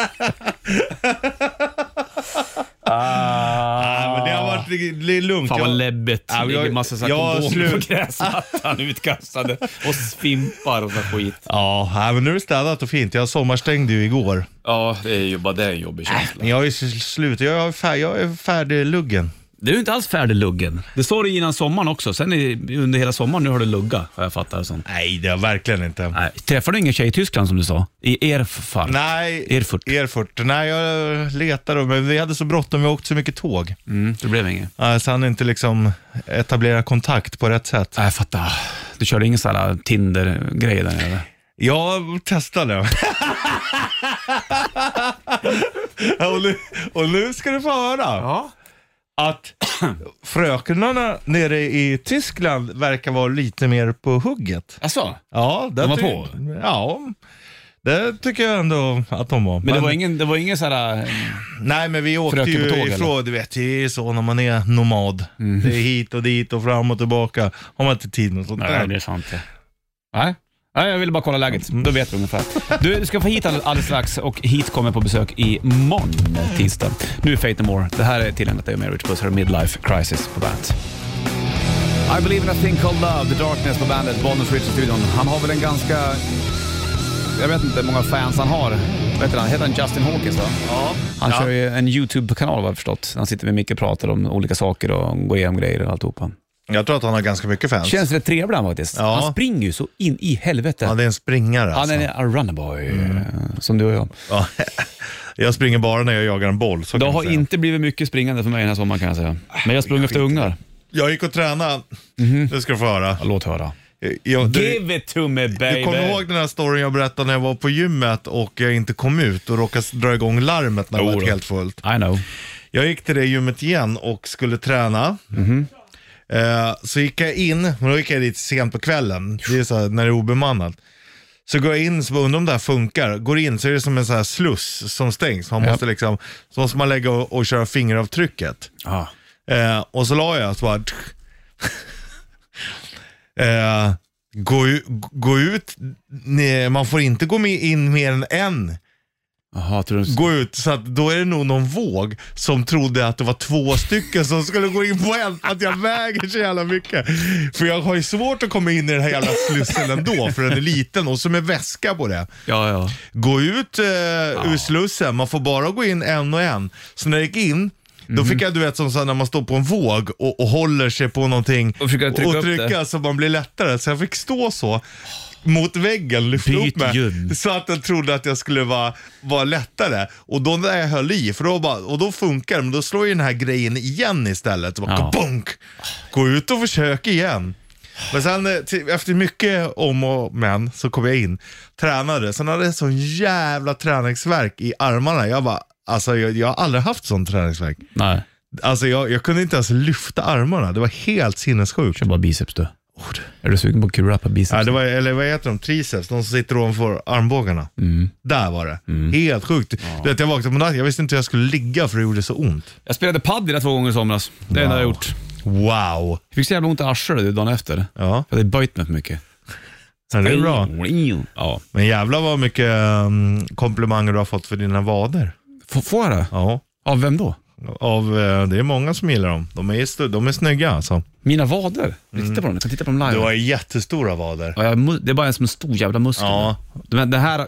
Speaker 3: ah, men det har varit det är lugnt.
Speaker 2: Fan vad
Speaker 3: Jag-
Speaker 2: läbbigt.
Speaker 3: Ja,
Speaker 2: det ligger
Speaker 3: jag-
Speaker 2: massa så här
Speaker 3: jag
Speaker 2: kondomer
Speaker 3: slut-
Speaker 2: på gräsmattan utkastade och fimpar och sån skit.
Speaker 3: Ja, nej, men nu är det städat och fint. Jag sommarstängde ju igår.
Speaker 2: Ja, det är ju bara det är en jobbig känsla.
Speaker 3: Men jag är ju sl- slut. Jag är, fär, jag är färdig luggen.
Speaker 2: Du är ju inte alls färdig luggen. Det sa du innan sommaren också. Sen i- under hela sommaren nu har du lugga, har jag fattat det som.
Speaker 3: Nej, det är jag verkligen inte.
Speaker 2: Nej, träffade du ingen tjej i Tyskland som du sa? I Erfurt?
Speaker 3: Nej,
Speaker 2: Erfurt.
Speaker 3: Erfurt. Nej, jag letade men vi hade så bråttom. Vi åkte så mycket tåg.
Speaker 2: Mm, det blev inget.
Speaker 3: Ah, Så han inte liksom etablera kontakt på rätt sätt.
Speaker 2: Nej, jag fattar. Du körde ingen sån här Tinder-grej där nere?
Speaker 3: Jag testade. Ja, och, nu, och nu ska du få höra att fröknarna nere i Tyskland verkar vara lite mer på hugget.
Speaker 2: Alltså?
Speaker 3: Ja,
Speaker 2: De var
Speaker 3: ty-
Speaker 2: på?
Speaker 3: Ja. Det tycker jag ändå att de var.
Speaker 2: Men det var ingen, det var ingen så här... äh,
Speaker 3: Nej, men vi åkte
Speaker 2: Fröken
Speaker 3: ju
Speaker 2: på tåg, Mm.
Speaker 3: ifrån, du vet, det är ju så när man är nomad. Det är hit och dit och fram och tillbaka. Har man inte tid med sånt
Speaker 2: Nej, det är
Speaker 3: där.
Speaker 2: sant. ja. Mm. Nej. Nej, jag ville bara kolla läget. Då vet vi ungefär. Du ska få hit all- alldeles strax och hit kommer på besök imorgon tisdag. Nu är Fate No More. Det här är tillägnat dig och mig, Rich Puss. Här är Midlife Crisis på bandet. I believe in a thing called love, The Darkness på bandet, Bollnäs Rich i studion. Han har väl en ganska... Jag vet inte hur många fans han har. Vet du, han heter han Justin Hawkins va? Ja. Han kör ju en YouTube-kanal vad jag har förstått. Han sitter med Micke och pratar om olika saker och går igenom grejer och alltihopa.
Speaker 3: Jag tror att han har ganska mycket fans.
Speaker 2: Känns rätt trevlig han faktiskt.
Speaker 3: Ja.
Speaker 2: Han springer ju så in i helvete.
Speaker 3: Ja, det är Mm. en springare
Speaker 2: Han
Speaker 3: alltså.
Speaker 2: är en runnerboy, som du och jag.
Speaker 3: Ja. Jag springer bara när jag jagar en boll. Så
Speaker 2: Det
Speaker 3: kan
Speaker 2: har
Speaker 3: jag, säga. Ah,
Speaker 2: inte blivit mycket springande för mig den här sommaren kan jag säga. Men jag sprung efter ungar.
Speaker 3: jag gick och tränade.
Speaker 2: Mhm.
Speaker 3: Det ska du få höra.
Speaker 2: Låt höra.
Speaker 3: Jag, du,
Speaker 2: Give it to me baby!
Speaker 3: du kommer ihåg den här storyn jag berättade när jag var på gymmet och jag inte kom ut och råkade dra igång larmet när det
Speaker 2: Jo
Speaker 3: var
Speaker 2: Oh, då.
Speaker 3: helt fullt.
Speaker 2: I know.
Speaker 3: Jag gick till det gymmet igen och skulle träna. Eh, så gick jag in, men då gick jag dit sent på kvällen. Det är så här, när det är obemannat. Så går jag in, så bara, undrar om det här funkar. Går in så är det som en så här sluss som stängs. Man
Speaker 2: Ja.
Speaker 3: måste liksom, så måste man lägga och, och köra fingeravtrycket.
Speaker 2: Ja.
Speaker 3: Eh, och så la jag så bara... eh, gå, u- gå ut, nej, man får inte gå med in mer än en
Speaker 2: Jaha, tror du...
Speaker 3: gå ut. Så att då är det nog någon våg som trodde att det var två stycken som skulle gå in på en. Att jag väger så jävla mycket. För jag har ju svårt att komma in i den här jävla slussen ändå, för den är liten och så med väska på det.
Speaker 2: Ja, ja.
Speaker 3: Gå ut eh, ur slussen, man får bara gå in en och en. Så när jag gick in, då
Speaker 2: Mhm.
Speaker 3: fick jag du vet som så här, när man står på en våg och, och håller sig på någonting
Speaker 2: Och försöker trycka upp
Speaker 3: trycka så man blir lättare. Så jag fick stå så mot väggen, lyfta
Speaker 2: Byt
Speaker 3: upp mig.
Speaker 2: gym.
Speaker 3: Så att den trodde att jag skulle vara, vara lättare. Och då när jag höll i, för då bara, och då funkar det, men då slår ju den här grejen igen istället. Så bara,
Speaker 2: Ja.
Speaker 3: kabunk! Gå ut och försök igen. Men sen eh, till- efter mycket om och men så kom jag in, tränade. Sen hade jag sån jävla träningsverk i armarna. Jag bara, alltså jag, jag har aldrig haft sån träningsverk.
Speaker 2: Nej.
Speaker 3: Alltså jag, jag kunde inte ens lyfta armarna. Det var helt sinnessjukt.
Speaker 2: Kör bara biceps du. Är du sugen på att kura på biceps?
Speaker 3: Ja, det var, eller vad heter de? Triceps, de som sitter ovanför armbågarna. Där var det. Helt sjukt. Du vet, jag vaknade på natten, jag visste inte hur jag skulle ligga för det gjorde så ont.
Speaker 2: Jag spelade padel två gånger i somras. Det är det enda jag har gjort.
Speaker 3: Wow.
Speaker 2: Jag fick så jävla ont i arslet dagen efter.
Speaker 3: Ja,
Speaker 2: Jag hade böjt mig för mycket.
Speaker 3: det är bra.
Speaker 2: Ja.
Speaker 3: Men jävlar vad mycket mm, komplimanger du har fått för dina vader.
Speaker 2: F- Får jag det?
Speaker 3: Ja.
Speaker 2: Av vem då?
Speaker 3: Av, eh, det är många som gillar dem. De är, stu- de är snygga alltså.
Speaker 2: Mina vader?
Speaker 3: Mm.
Speaker 2: Jag tittar på dem. Jag kan titta på dem live.
Speaker 3: Du har jättestora vader.
Speaker 2: Ja, jag, har mu- det är bara en som en stor jävla muskel.
Speaker 3: Ja.
Speaker 2: Men det här,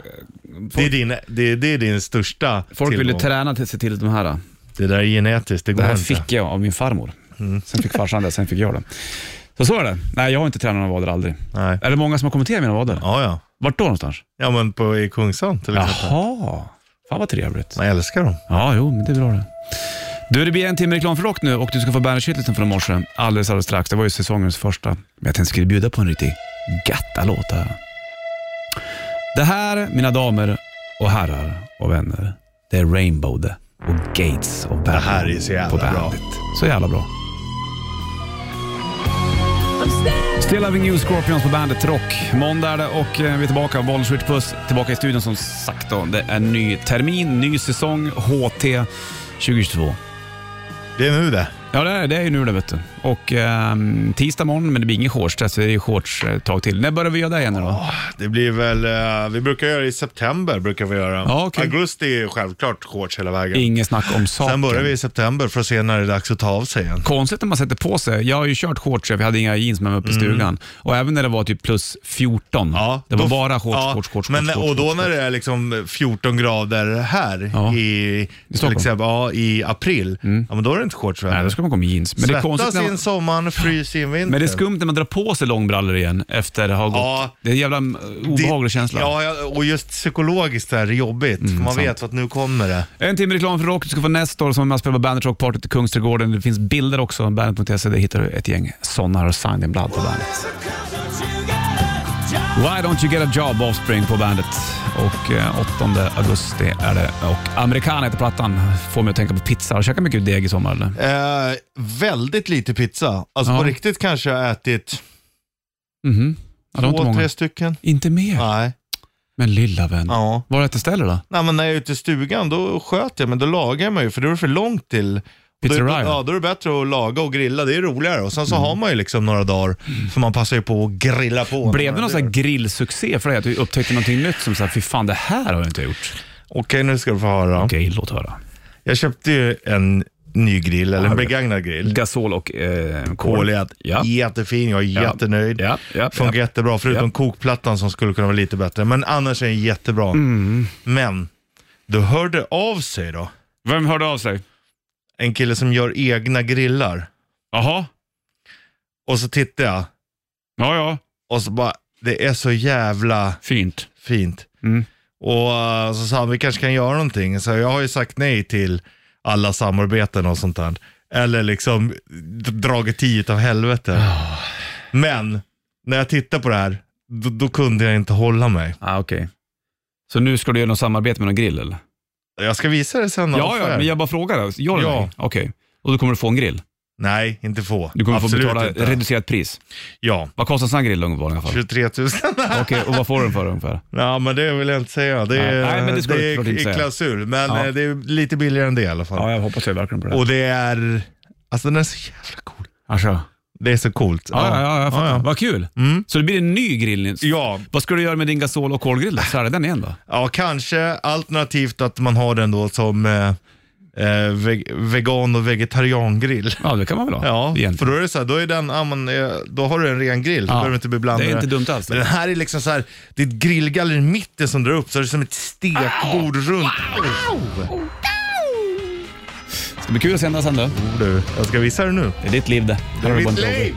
Speaker 3: Det är din, det, det är din största
Speaker 2: folk
Speaker 3: tillgång.
Speaker 2: ville träna till sig till de här.
Speaker 3: Det där är genetiskt, det
Speaker 2: Det
Speaker 3: går
Speaker 2: här
Speaker 3: inte.
Speaker 2: fick jag av min farmor.
Speaker 3: Mm.
Speaker 2: Sen fick farsan det, sen fick jag det. Så så är det. Nej, jag har inte tränat några vader aldrig.
Speaker 3: Nej.
Speaker 2: Är det många som har kommenterat mina vader?
Speaker 3: Ja, ja.
Speaker 2: Vart då någonstans?
Speaker 3: Ja, men på, i Kungshamn till exempel.
Speaker 2: Jaha. Fan vad trevligt.
Speaker 3: Man älskar dem.
Speaker 2: Ja, jo, men det är bra det. Du, det blir en timme reklam för rock nu och du ska få bandage-shitlisten från i morse alldeles, alldeles strax. Det var ju säsongens första. Men jag tänkte skulle bjuda på en riktig gatta-låt här. Det här, mina damer och herrar och vänner, det är Rainbow det och Gates och Bandit.
Speaker 3: här är så jävla
Speaker 2: på
Speaker 3: bra.
Speaker 2: Bandit. Så jävla bra. Still Loving You, Scorpions på bandet Rock. Måndag är det och eh, vi är tillbaka. Bollens Rich Puss tillbaka i studion som sagt. Då. Det är en ny termin, ny säsong, HT 2022.
Speaker 3: Det är nu det.
Speaker 2: Ja, det är, det är ju nu det vet du. Och ehm, tisdag morgon, men det blir ingen shorts, så det är ju shorts eh, ett tag till. När börjar vi göra det igen då?
Speaker 3: Det blir väl, eh, vi brukar göra i september. brukar vi göra.
Speaker 2: Ja, okej.
Speaker 3: Augusti är ju självklart shorts hela vägen.
Speaker 2: Ingen snack om saken.
Speaker 3: Sen börjar vi i september för att se när det är dags att ta av sig igen.
Speaker 2: Konstigt när man sätter på sig. Jag har ju kört shorts, vi hade inga jeans med mig uppe i stugan. Och även när det var typ plus 14. det var
Speaker 3: då-
Speaker 2: bara shorts,
Speaker 3: Mm. ja,
Speaker 2: shorts, shorts,
Speaker 3: men,
Speaker 2: shorts, shorts,
Speaker 3: Och då
Speaker 2: shorts.
Speaker 3: när det är liksom 14 grader här
Speaker 2: Ja.
Speaker 3: i, till
Speaker 2: Stockholm. Mm.
Speaker 3: exempel, ja, i april, ja, men då är det inte shorts
Speaker 2: Nej, då
Speaker 3: väder.
Speaker 2: ska man komma i jeans. Men det är konstigt
Speaker 3: Svettas
Speaker 2: när
Speaker 3: in
Speaker 2: man...
Speaker 3: sommaren, frys in vintern.
Speaker 2: Men det är skumt när man drar på sig långbrallor igen efter att ha gått.
Speaker 3: Ja.
Speaker 2: det är en jävla eh, obehaglig
Speaker 3: Det-
Speaker 2: känsla. Mm,
Speaker 3: Ja, ja, och just psykologiskt är det jobbigt. för man
Speaker 2: sant.
Speaker 3: vet att nu kommer det.
Speaker 2: En timme reklam för rock. Du ska få Nestor som är med och spelar på Bandet Rockpartyt i Kungsträdgården. Det finns bilder också. Bandet.se. Där hittar du ett gäng sådana och Signed in Blood på bandet. Why don't you get a job Offspring på bandet. Och eh, 8 augusti är det. Och Americana heter plattan. Får mig att tänka på pizza. Har du käkat mycket deg i sommar eller?
Speaker 3: Eh, väldigt lite pizza. Alltså
Speaker 2: Ja.
Speaker 3: på riktigt kanske jag har ätit
Speaker 2: Mhm. Ja, det var inte
Speaker 3: två,
Speaker 2: många.
Speaker 3: tre stycken.
Speaker 2: Inte mer?
Speaker 3: Nej.
Speaker 2: Men lilla vän,
Speaker 3: Ja.
Speaker 2: var äter Stellar då?
Speaker 3: Nej, men när jag är ute i stugan då sköt jag, men då lagar man ju för då är det för långt till. Och Då, är
Speaker 2: Pizzeria.
Speaker 3: det- ja, då är det bättre att laga och grilla, det är roligare. Och sen
Speaker 2: Mm.
Speaker 3: så har man ju liksom några dagar, för man passar ju på att grilla på. när
Speaker 2: Blev
Speaker 3: man
Speaker 2: det någon
Speaker 3: gör.
Speaker 2: sån här grillsuccé för dig? Att du upptäckte någonting nytt som såhär, fy fan det här har jag inte gjort.
Speaker 3: Okej, nu ska du få höra.
Speaker 2: Okej, låt höra.
Speaker 3: Jag köpte ju en ny grill, eller en begagnad grill.
Speaker 2: Gasol och eh, kol.
Speaker 3: Kolhet,
Speaker 2: Ja.
Speaker 3: jättefin, jag är jättenöjd.
Speaker 2: Ja, ja,
Speaker 3: Funkar
Speaker 2: ja.
Speaker 3: jättebra, förutom
Speaker 2: Ja.
Speaker 3: kokplattan som skulle kunna vara lite bättre. Men annars är den jättebra.
Speaker 2: Mm.
Speaker 3: Men, då hörde av sig då,
Speaker 2: Vem hörde av sig?
Speaker 3: en kille som gör egna grillar.
Speaker 2: Jaha,
Speaker 3: Och så tittade jag
Speaker 2: ja ja,
Speaker 3: och så bara, det är så jävla
Speaker 2: fint.
Speaker 3: fint.
Speaker 2: Mm.
Speaker 3: Och eh, så sa han, vi kanske kan göra någonting. Så jag har ju sagt nej till alla samarbeten och sånt där. Eller liksom d- dragit tio av helvete.
Speaker 2: Ah.
Speaker 3: Men, när jag tittar på det här, då, då kunde jag inte hålla mig.
Speaker 2: Ah, okej. Så nu ska du göra något samarbete med någon grill eller?
Speaker 3: Jag ska visa det sen.
Speaker 2: Ja,
Speaker 3: affär.
Speaker 2: ja, men jag bara frågar. Gör det?
Speaker 3: Ja.
Speaker 2: Ja. Okej. Och då kommer du få en grill?
Speaker 3: Nej, inte få.
Speaker 2: Du kommer
Speaker 3: Absolut
Speaker 2: få betala
Speaker 3: inte.
Speaker 2: reducerat pris.
Speaker 3: Ja,
Speaker 2: Vad kostar en sån här grill ungefär i alla fall?
Speaker 3: 23 000.
Speaker 2: Okej, och vad får du den för ungefär?
Speaker 3: ja, men det vill jag inte säga. Det är,
Speaker 2: Nej, men det ska du
Speaker 3: det
Speaker 2: såklart
Speaker 3: är
Speaker 2: inte
Speaker 3: i
Speaker 2: säga.
Speaker 3: klausul, men
Speaker 2: Ja.
Speaker 3: eh, det är lite billigare än det i alla fall.
Speaker 2: jag hoppas jag verkligen på
Speaker 3: Och det är, alltså den är så jävla cool.
Speaker 2: Alltså. Ja,
Speaker 3: Det är så coolt.
Speaker 2: ja, ja, jag fattar.
Speaker 3: ja. Mm.
Speaker 2: Vad kul. Så det blir en ny grill? Nils.
Speaker 3: Ja.
Speaker 2: Vad ska du göra med din gasol och kolgrill då? Sälja den igen då?
Speaker 3: Ja, kanske alternativt att man har den då som eh, eh, veg- vegan och vegetariangrill.
Speaker 2: Ja, det kan man väl ha?
Speaker 3: Ja,
Speaker 2: Egentligen.
Speaker 3: för då är det så här, då, är den, ja, men, eh, då har du en ren grill. Då
Speaker 2: Ja.
Speaker 3: behöver du inte bli blandad.
Speaker 2: Det är
Speaker 3: med-
Speaker 2: inte dumt alls.
Speaker 3: Men den här är liksom så här, det är ett grillgaller i mitten som drar upp så det är som ett stekbord runt.
Speaker 2: Det ska bli kul att sända sen då.
Speaker 3: Oh, Du, jag ska visa det nu.
Speaker 2: Det är ditt liv det.
Speaker 3: Det
Speaker 2: Här har
Speaker 3: är
Speaker 2: du Bon
Speaker 3: mitt
Speaker 2: Jovi.
Speaker 3: liv!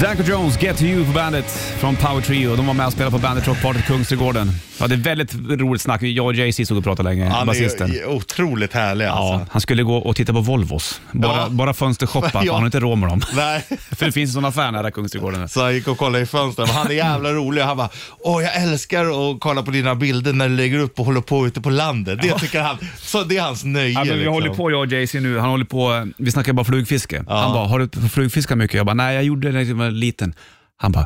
Speaker 2: Danko Jones, Get to You på bandet från Power Trio. De var med och spelade på Bandit Rock Party på Kungsgården. Ja, det är väldigt roligt snack. Jag och Jay-Z stod och pratade länge,
Speaker 3: Han
Speaker 2: basisten.
Speaker 3: är otroligt härlig
Speaker 2: Ja,
Speaker 3: alltså.
Speaker 2: han skulle gå och titta på Volvos. Bara,
Speaker 3: Ja.
Speaker 2: bara fönstershoppa, för
Speaker 3: Ja.
Speaker 2: han har inte råd med dem.
Speaker 3: Nej.
Speaker 2: För det finns en sån affär nära Kungsträdgården.
Speaker 3: Så jag gick och kollade i fönstret, men han är jävla rolig. Han bara, åh jag älskar att kolla på dina bilder när du lägger upp och håller på ute på landet. Det tycker han, så det är hans nöje.
Speaker 2: Ja, men vi
Speaker 3: liksom.
Speaker 2: håller på jag och Jay-Z nu, han håller på, eh, vi snackar bara flugfiske. Han bara, har du flugfiskat mycket? Jag bara, nej jag gjorde det när jag var liten. Han bara,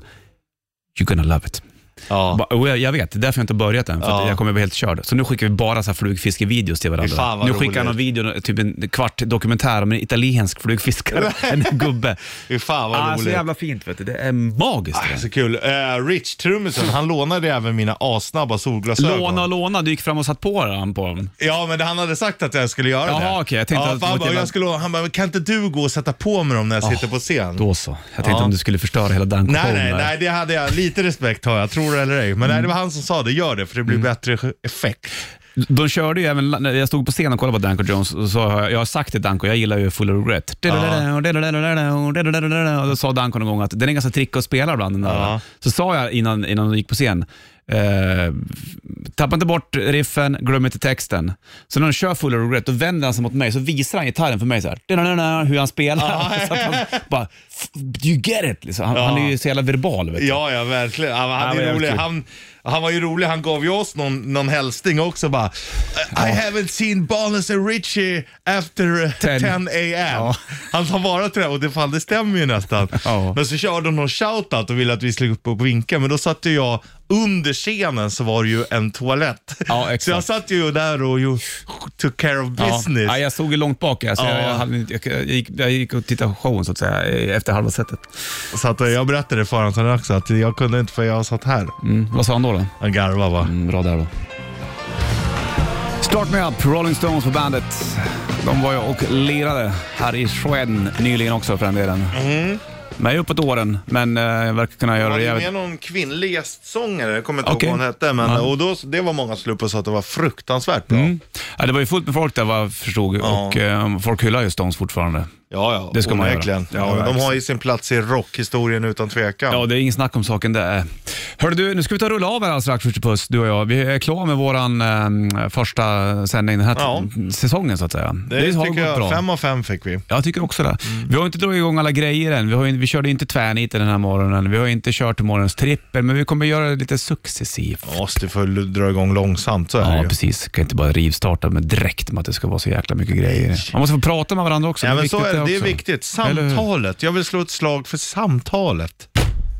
Speaker 2: you're gonna love it. Jag,
Speaker 3: Ja.
Speaker 2: bara, "Och jag, jag vet, det är därför jag inte har börjat än, för
Speaker 3: Ja.
Speaker 2: att jag kommer bli helt körd. Så nu skickar vi bara så här flugfiskevideos till varandra.
Speaker 3: Fy fan, vad
Speaker 2: nu skickar han en video, typ en kvart dokumentär om en italiensk flugfiskare, en gubbe.
Speaker 3: Fy fan vad
Speaker 2: Ah,
Speaker 3: roligt.
Speaker 2: så jävla fint vet du, det är magiskt. det.
Speaker 3: Ah, Så kul. Eh, Rich trummisen, han lånade även mina assnabba solglasögon.
Speaker 2: Låna och låna, du gick fram och satt på den på dem.
Speaker 3: Ja, men det, han hade sagt att jag skulle göra
Speaker 2: Jaha,
Speaker 3: det.
Speaker 2: okej, jag tänkte
Speaker 3: ja,
Speaker 2: att
Speaker 3: för han,
Speaker 2: det var
Speaker 3: bara,
Speaker 2: till-
Speaker 3: jag skulle, han bara, kan inte du gå och sätta på mig dem när jag sitter på scen?
Speaker 2: Då så. Jag tänkte
Speaker 3: Ja.
Speaker 2: om du skulle förstöra hela den
Speaker 3: Nej, nej, nej, det hade jag. Lite respekt har jag, tror det eller ej. Men nej, det var han som sa det, gör det för det blir
Speaker 2: Mm.
Speaker 3: bättre effekt.
Speaker 2: De körde ju även, när jag stod på scenen och kollade på Danko Jones, och så har jag, jag har sagt till Danko, jag gillar ju Full of Regret. Och då sa Danko någon gång att den är ganska trickig att spela ibland. Den där.
Speaker 3: Ja.
Speaker 2: Så sa jag innan, innan de gick på scen, eh, tappa inte bort riffen, glöm inte texten. Så när de kör Full of Regret, då vänder han sig mot mig, så visar han gitarren för mig så här, hur han spelar. Så att han bara, you get it! Liksom. Han,
Speaker 3: Ja.
Speaker 2: han är ju så jävla verbal. Vet du.
Speaker 3: Ja, ja, verkligen. Han, han,
Speaker 2: Ja, men
Speaker 3: är rolig.
Speaker 2: jävligt kul.
Speaker 3: Han, han var ju rolig. Han gav ju oss någon, någon hälsning också bara. I haven't seen Bonus and Richie after eh, 10,
Speaker 2: Ten.
Speaker 3: a.m.
Speaker 2: Ja.
Speaker 3: Han tar vara till det och det, fan, det stämmer ju nästan.
Speaker 2: Ja.
Speaker 3: Men så körde de någon shoutout och ville att vi skulle upp och vinka, men då satt ju jag under scenen så var det ju en toalett.
Speaker 2: Ja, exakt.
Speaker 3: Så jag satt ju där och ju, took care of business.
Speaker 2: Ja, jag såg ju långt bak, jag, så jag,
Speaker 3: Ja.
Speaker 2: jag, hade, inte- jag, jag, gick, jag gick och tittade på showen så att säga, eh, efter halva setet.
Speaker 3: Så att eh, jag berättade för honom sen också att jag kunde inte för jag satt här.
Speaker 2: Mm. Vad sa han då? då?
Speaker 3: Han garvade va.
Speaker 2: Mm, bra där då. Start Me Up, Rolling Stones på bandet. De var ju och lirade här i Sweden nyligen också för den delen. Men jag är uppåt åren, men eh, jag verkar kunna göra
Speaker 3: Han
Speaker 2: det
Speaker 3: hade
Speaker 2: jävligt...
Speaker 3: med någon kvinnlig gästsångare, jag kommer inte
Speaker 2: Okej.
Speaker 3: ihåg vad hon hette. Men,
Speaker 2: Ja. Mm.
Speaker 3: och då, det var många som slog upp och sa att det var fruktansvärt bra.
Speaker 2: Ja, det var ju fullt med folk där vad jag förstod
Speaker 3: Ja.
Speaker 2: och eh, folk hyllar ju Stones fortfarande.
Speaker 3: Ja, ja.
Speaker 2: Det ska man göra.
Speaker 3: onekligen.
Speaker 2: Ja,
Speaker 3: Ja, de
Speaker 2: verkligen.
Speaker 3: har ju sin plats i rockhistorien utan tvekan.
Speaker 2: Ja,
Speaker 3: Ja,
Speaker 2: det är ingen snack om saken där. Hörru du, nu ska vi ta och rulla av här alldeles strax, Richard Puss, du och jag. Vi är klara med vår första sändning den här
Speaker 3: Ja.
Speaker 2: t- säsongen så att säga.
Speaker 3: det tycker jag. Fem Mm. av fem fick vi.
Speaker 2: Jag tycker också det. Vi har inte dragit igång alla grejer än. Vi, har, ju- vi körde inte tvärniten den här morgonen. Vi har inte kört morgonens trippel, men vi kommer göra det lite successivt.
Speaker 3: Måste få dra igång långsamt, så är
Speaker 2: Ja,
Speaker 3: det ju.
Speaker 2: precis. Kan inte bara rivstarta med direkt med att det ska vara så jäkla mycket grejer. Man måste få prata med varandra också.
Speaker 3: Ja, men så
Speaker 2: viktigt
Speaker 3: är det. Det är
Speaker 2: också.
Speaker 3: viktigt.
Speaker 2: Eller hur?
Speaker 3: Samtalet. Jag vill slå ett slag för samtalet.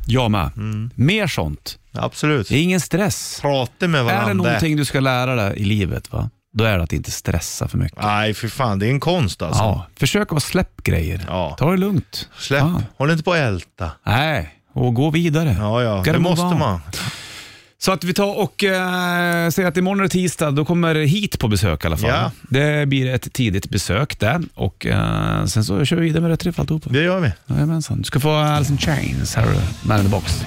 Speaker 2: Jag med.
Speaker 3: Mm.
Speaker 2: Mer sånt.
Speaker 3: Absolut.
Speaker 2: Det är ingen stress.
Speaker 3: Prata med varandra.
Speaker 2: Är det någonting du ska lära dig i livet, va? då är det att inte stressa för mycket.
Speaker 3: Nej, för fan. Det är en konst alltså.
Speaker 2: Ja, försök att släpp grejer.
Speaker 3: Ja.
Speaker 2: Ta det lugnt.
Speaker 3: Släpp.
Speaker 2: Ja.
Speaker 3: Håll inte på och älta.
Speaker 2: Nej, och gå vidare.
Speaker 3: Ja, ja.
Speaker 2: Gotta
Speaker 3: Det
Speaker 2: move
Speaker 3: måste
Speaker 2: on.
Speaker 3: man.
Speaker 2: Så att vi tar och eh, säger att imorgon är det tisdag, då kommer hit på besök i alla fall.
Speaker 3: Ja.
Speaker 2: Det blir ett tidigt besök där och eh, sen så kör vi vidare med rätt riff alltihopa.
Speaker 3: Det gör vi.
Speaker 2: Jajamensan. Du ska få Alice in Chains här, Man in the Box.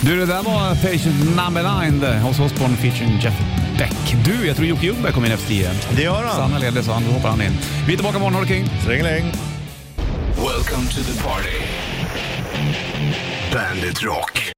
Speaker 2: Du, det där var Patient Number 9 där, hos Osborne featuring Jeff Beck. Du, jag tror Jocke Ljungberg kom in efter 10.
Speaker 3: Det gör han.
Speaker 2: Sanna leder så han hoppar han in. Vi är tillbaka imorgon, ha det kring.
Speaker 3: Strängeläng.
Speaker 1: Welcome to the party. Bandit Rock.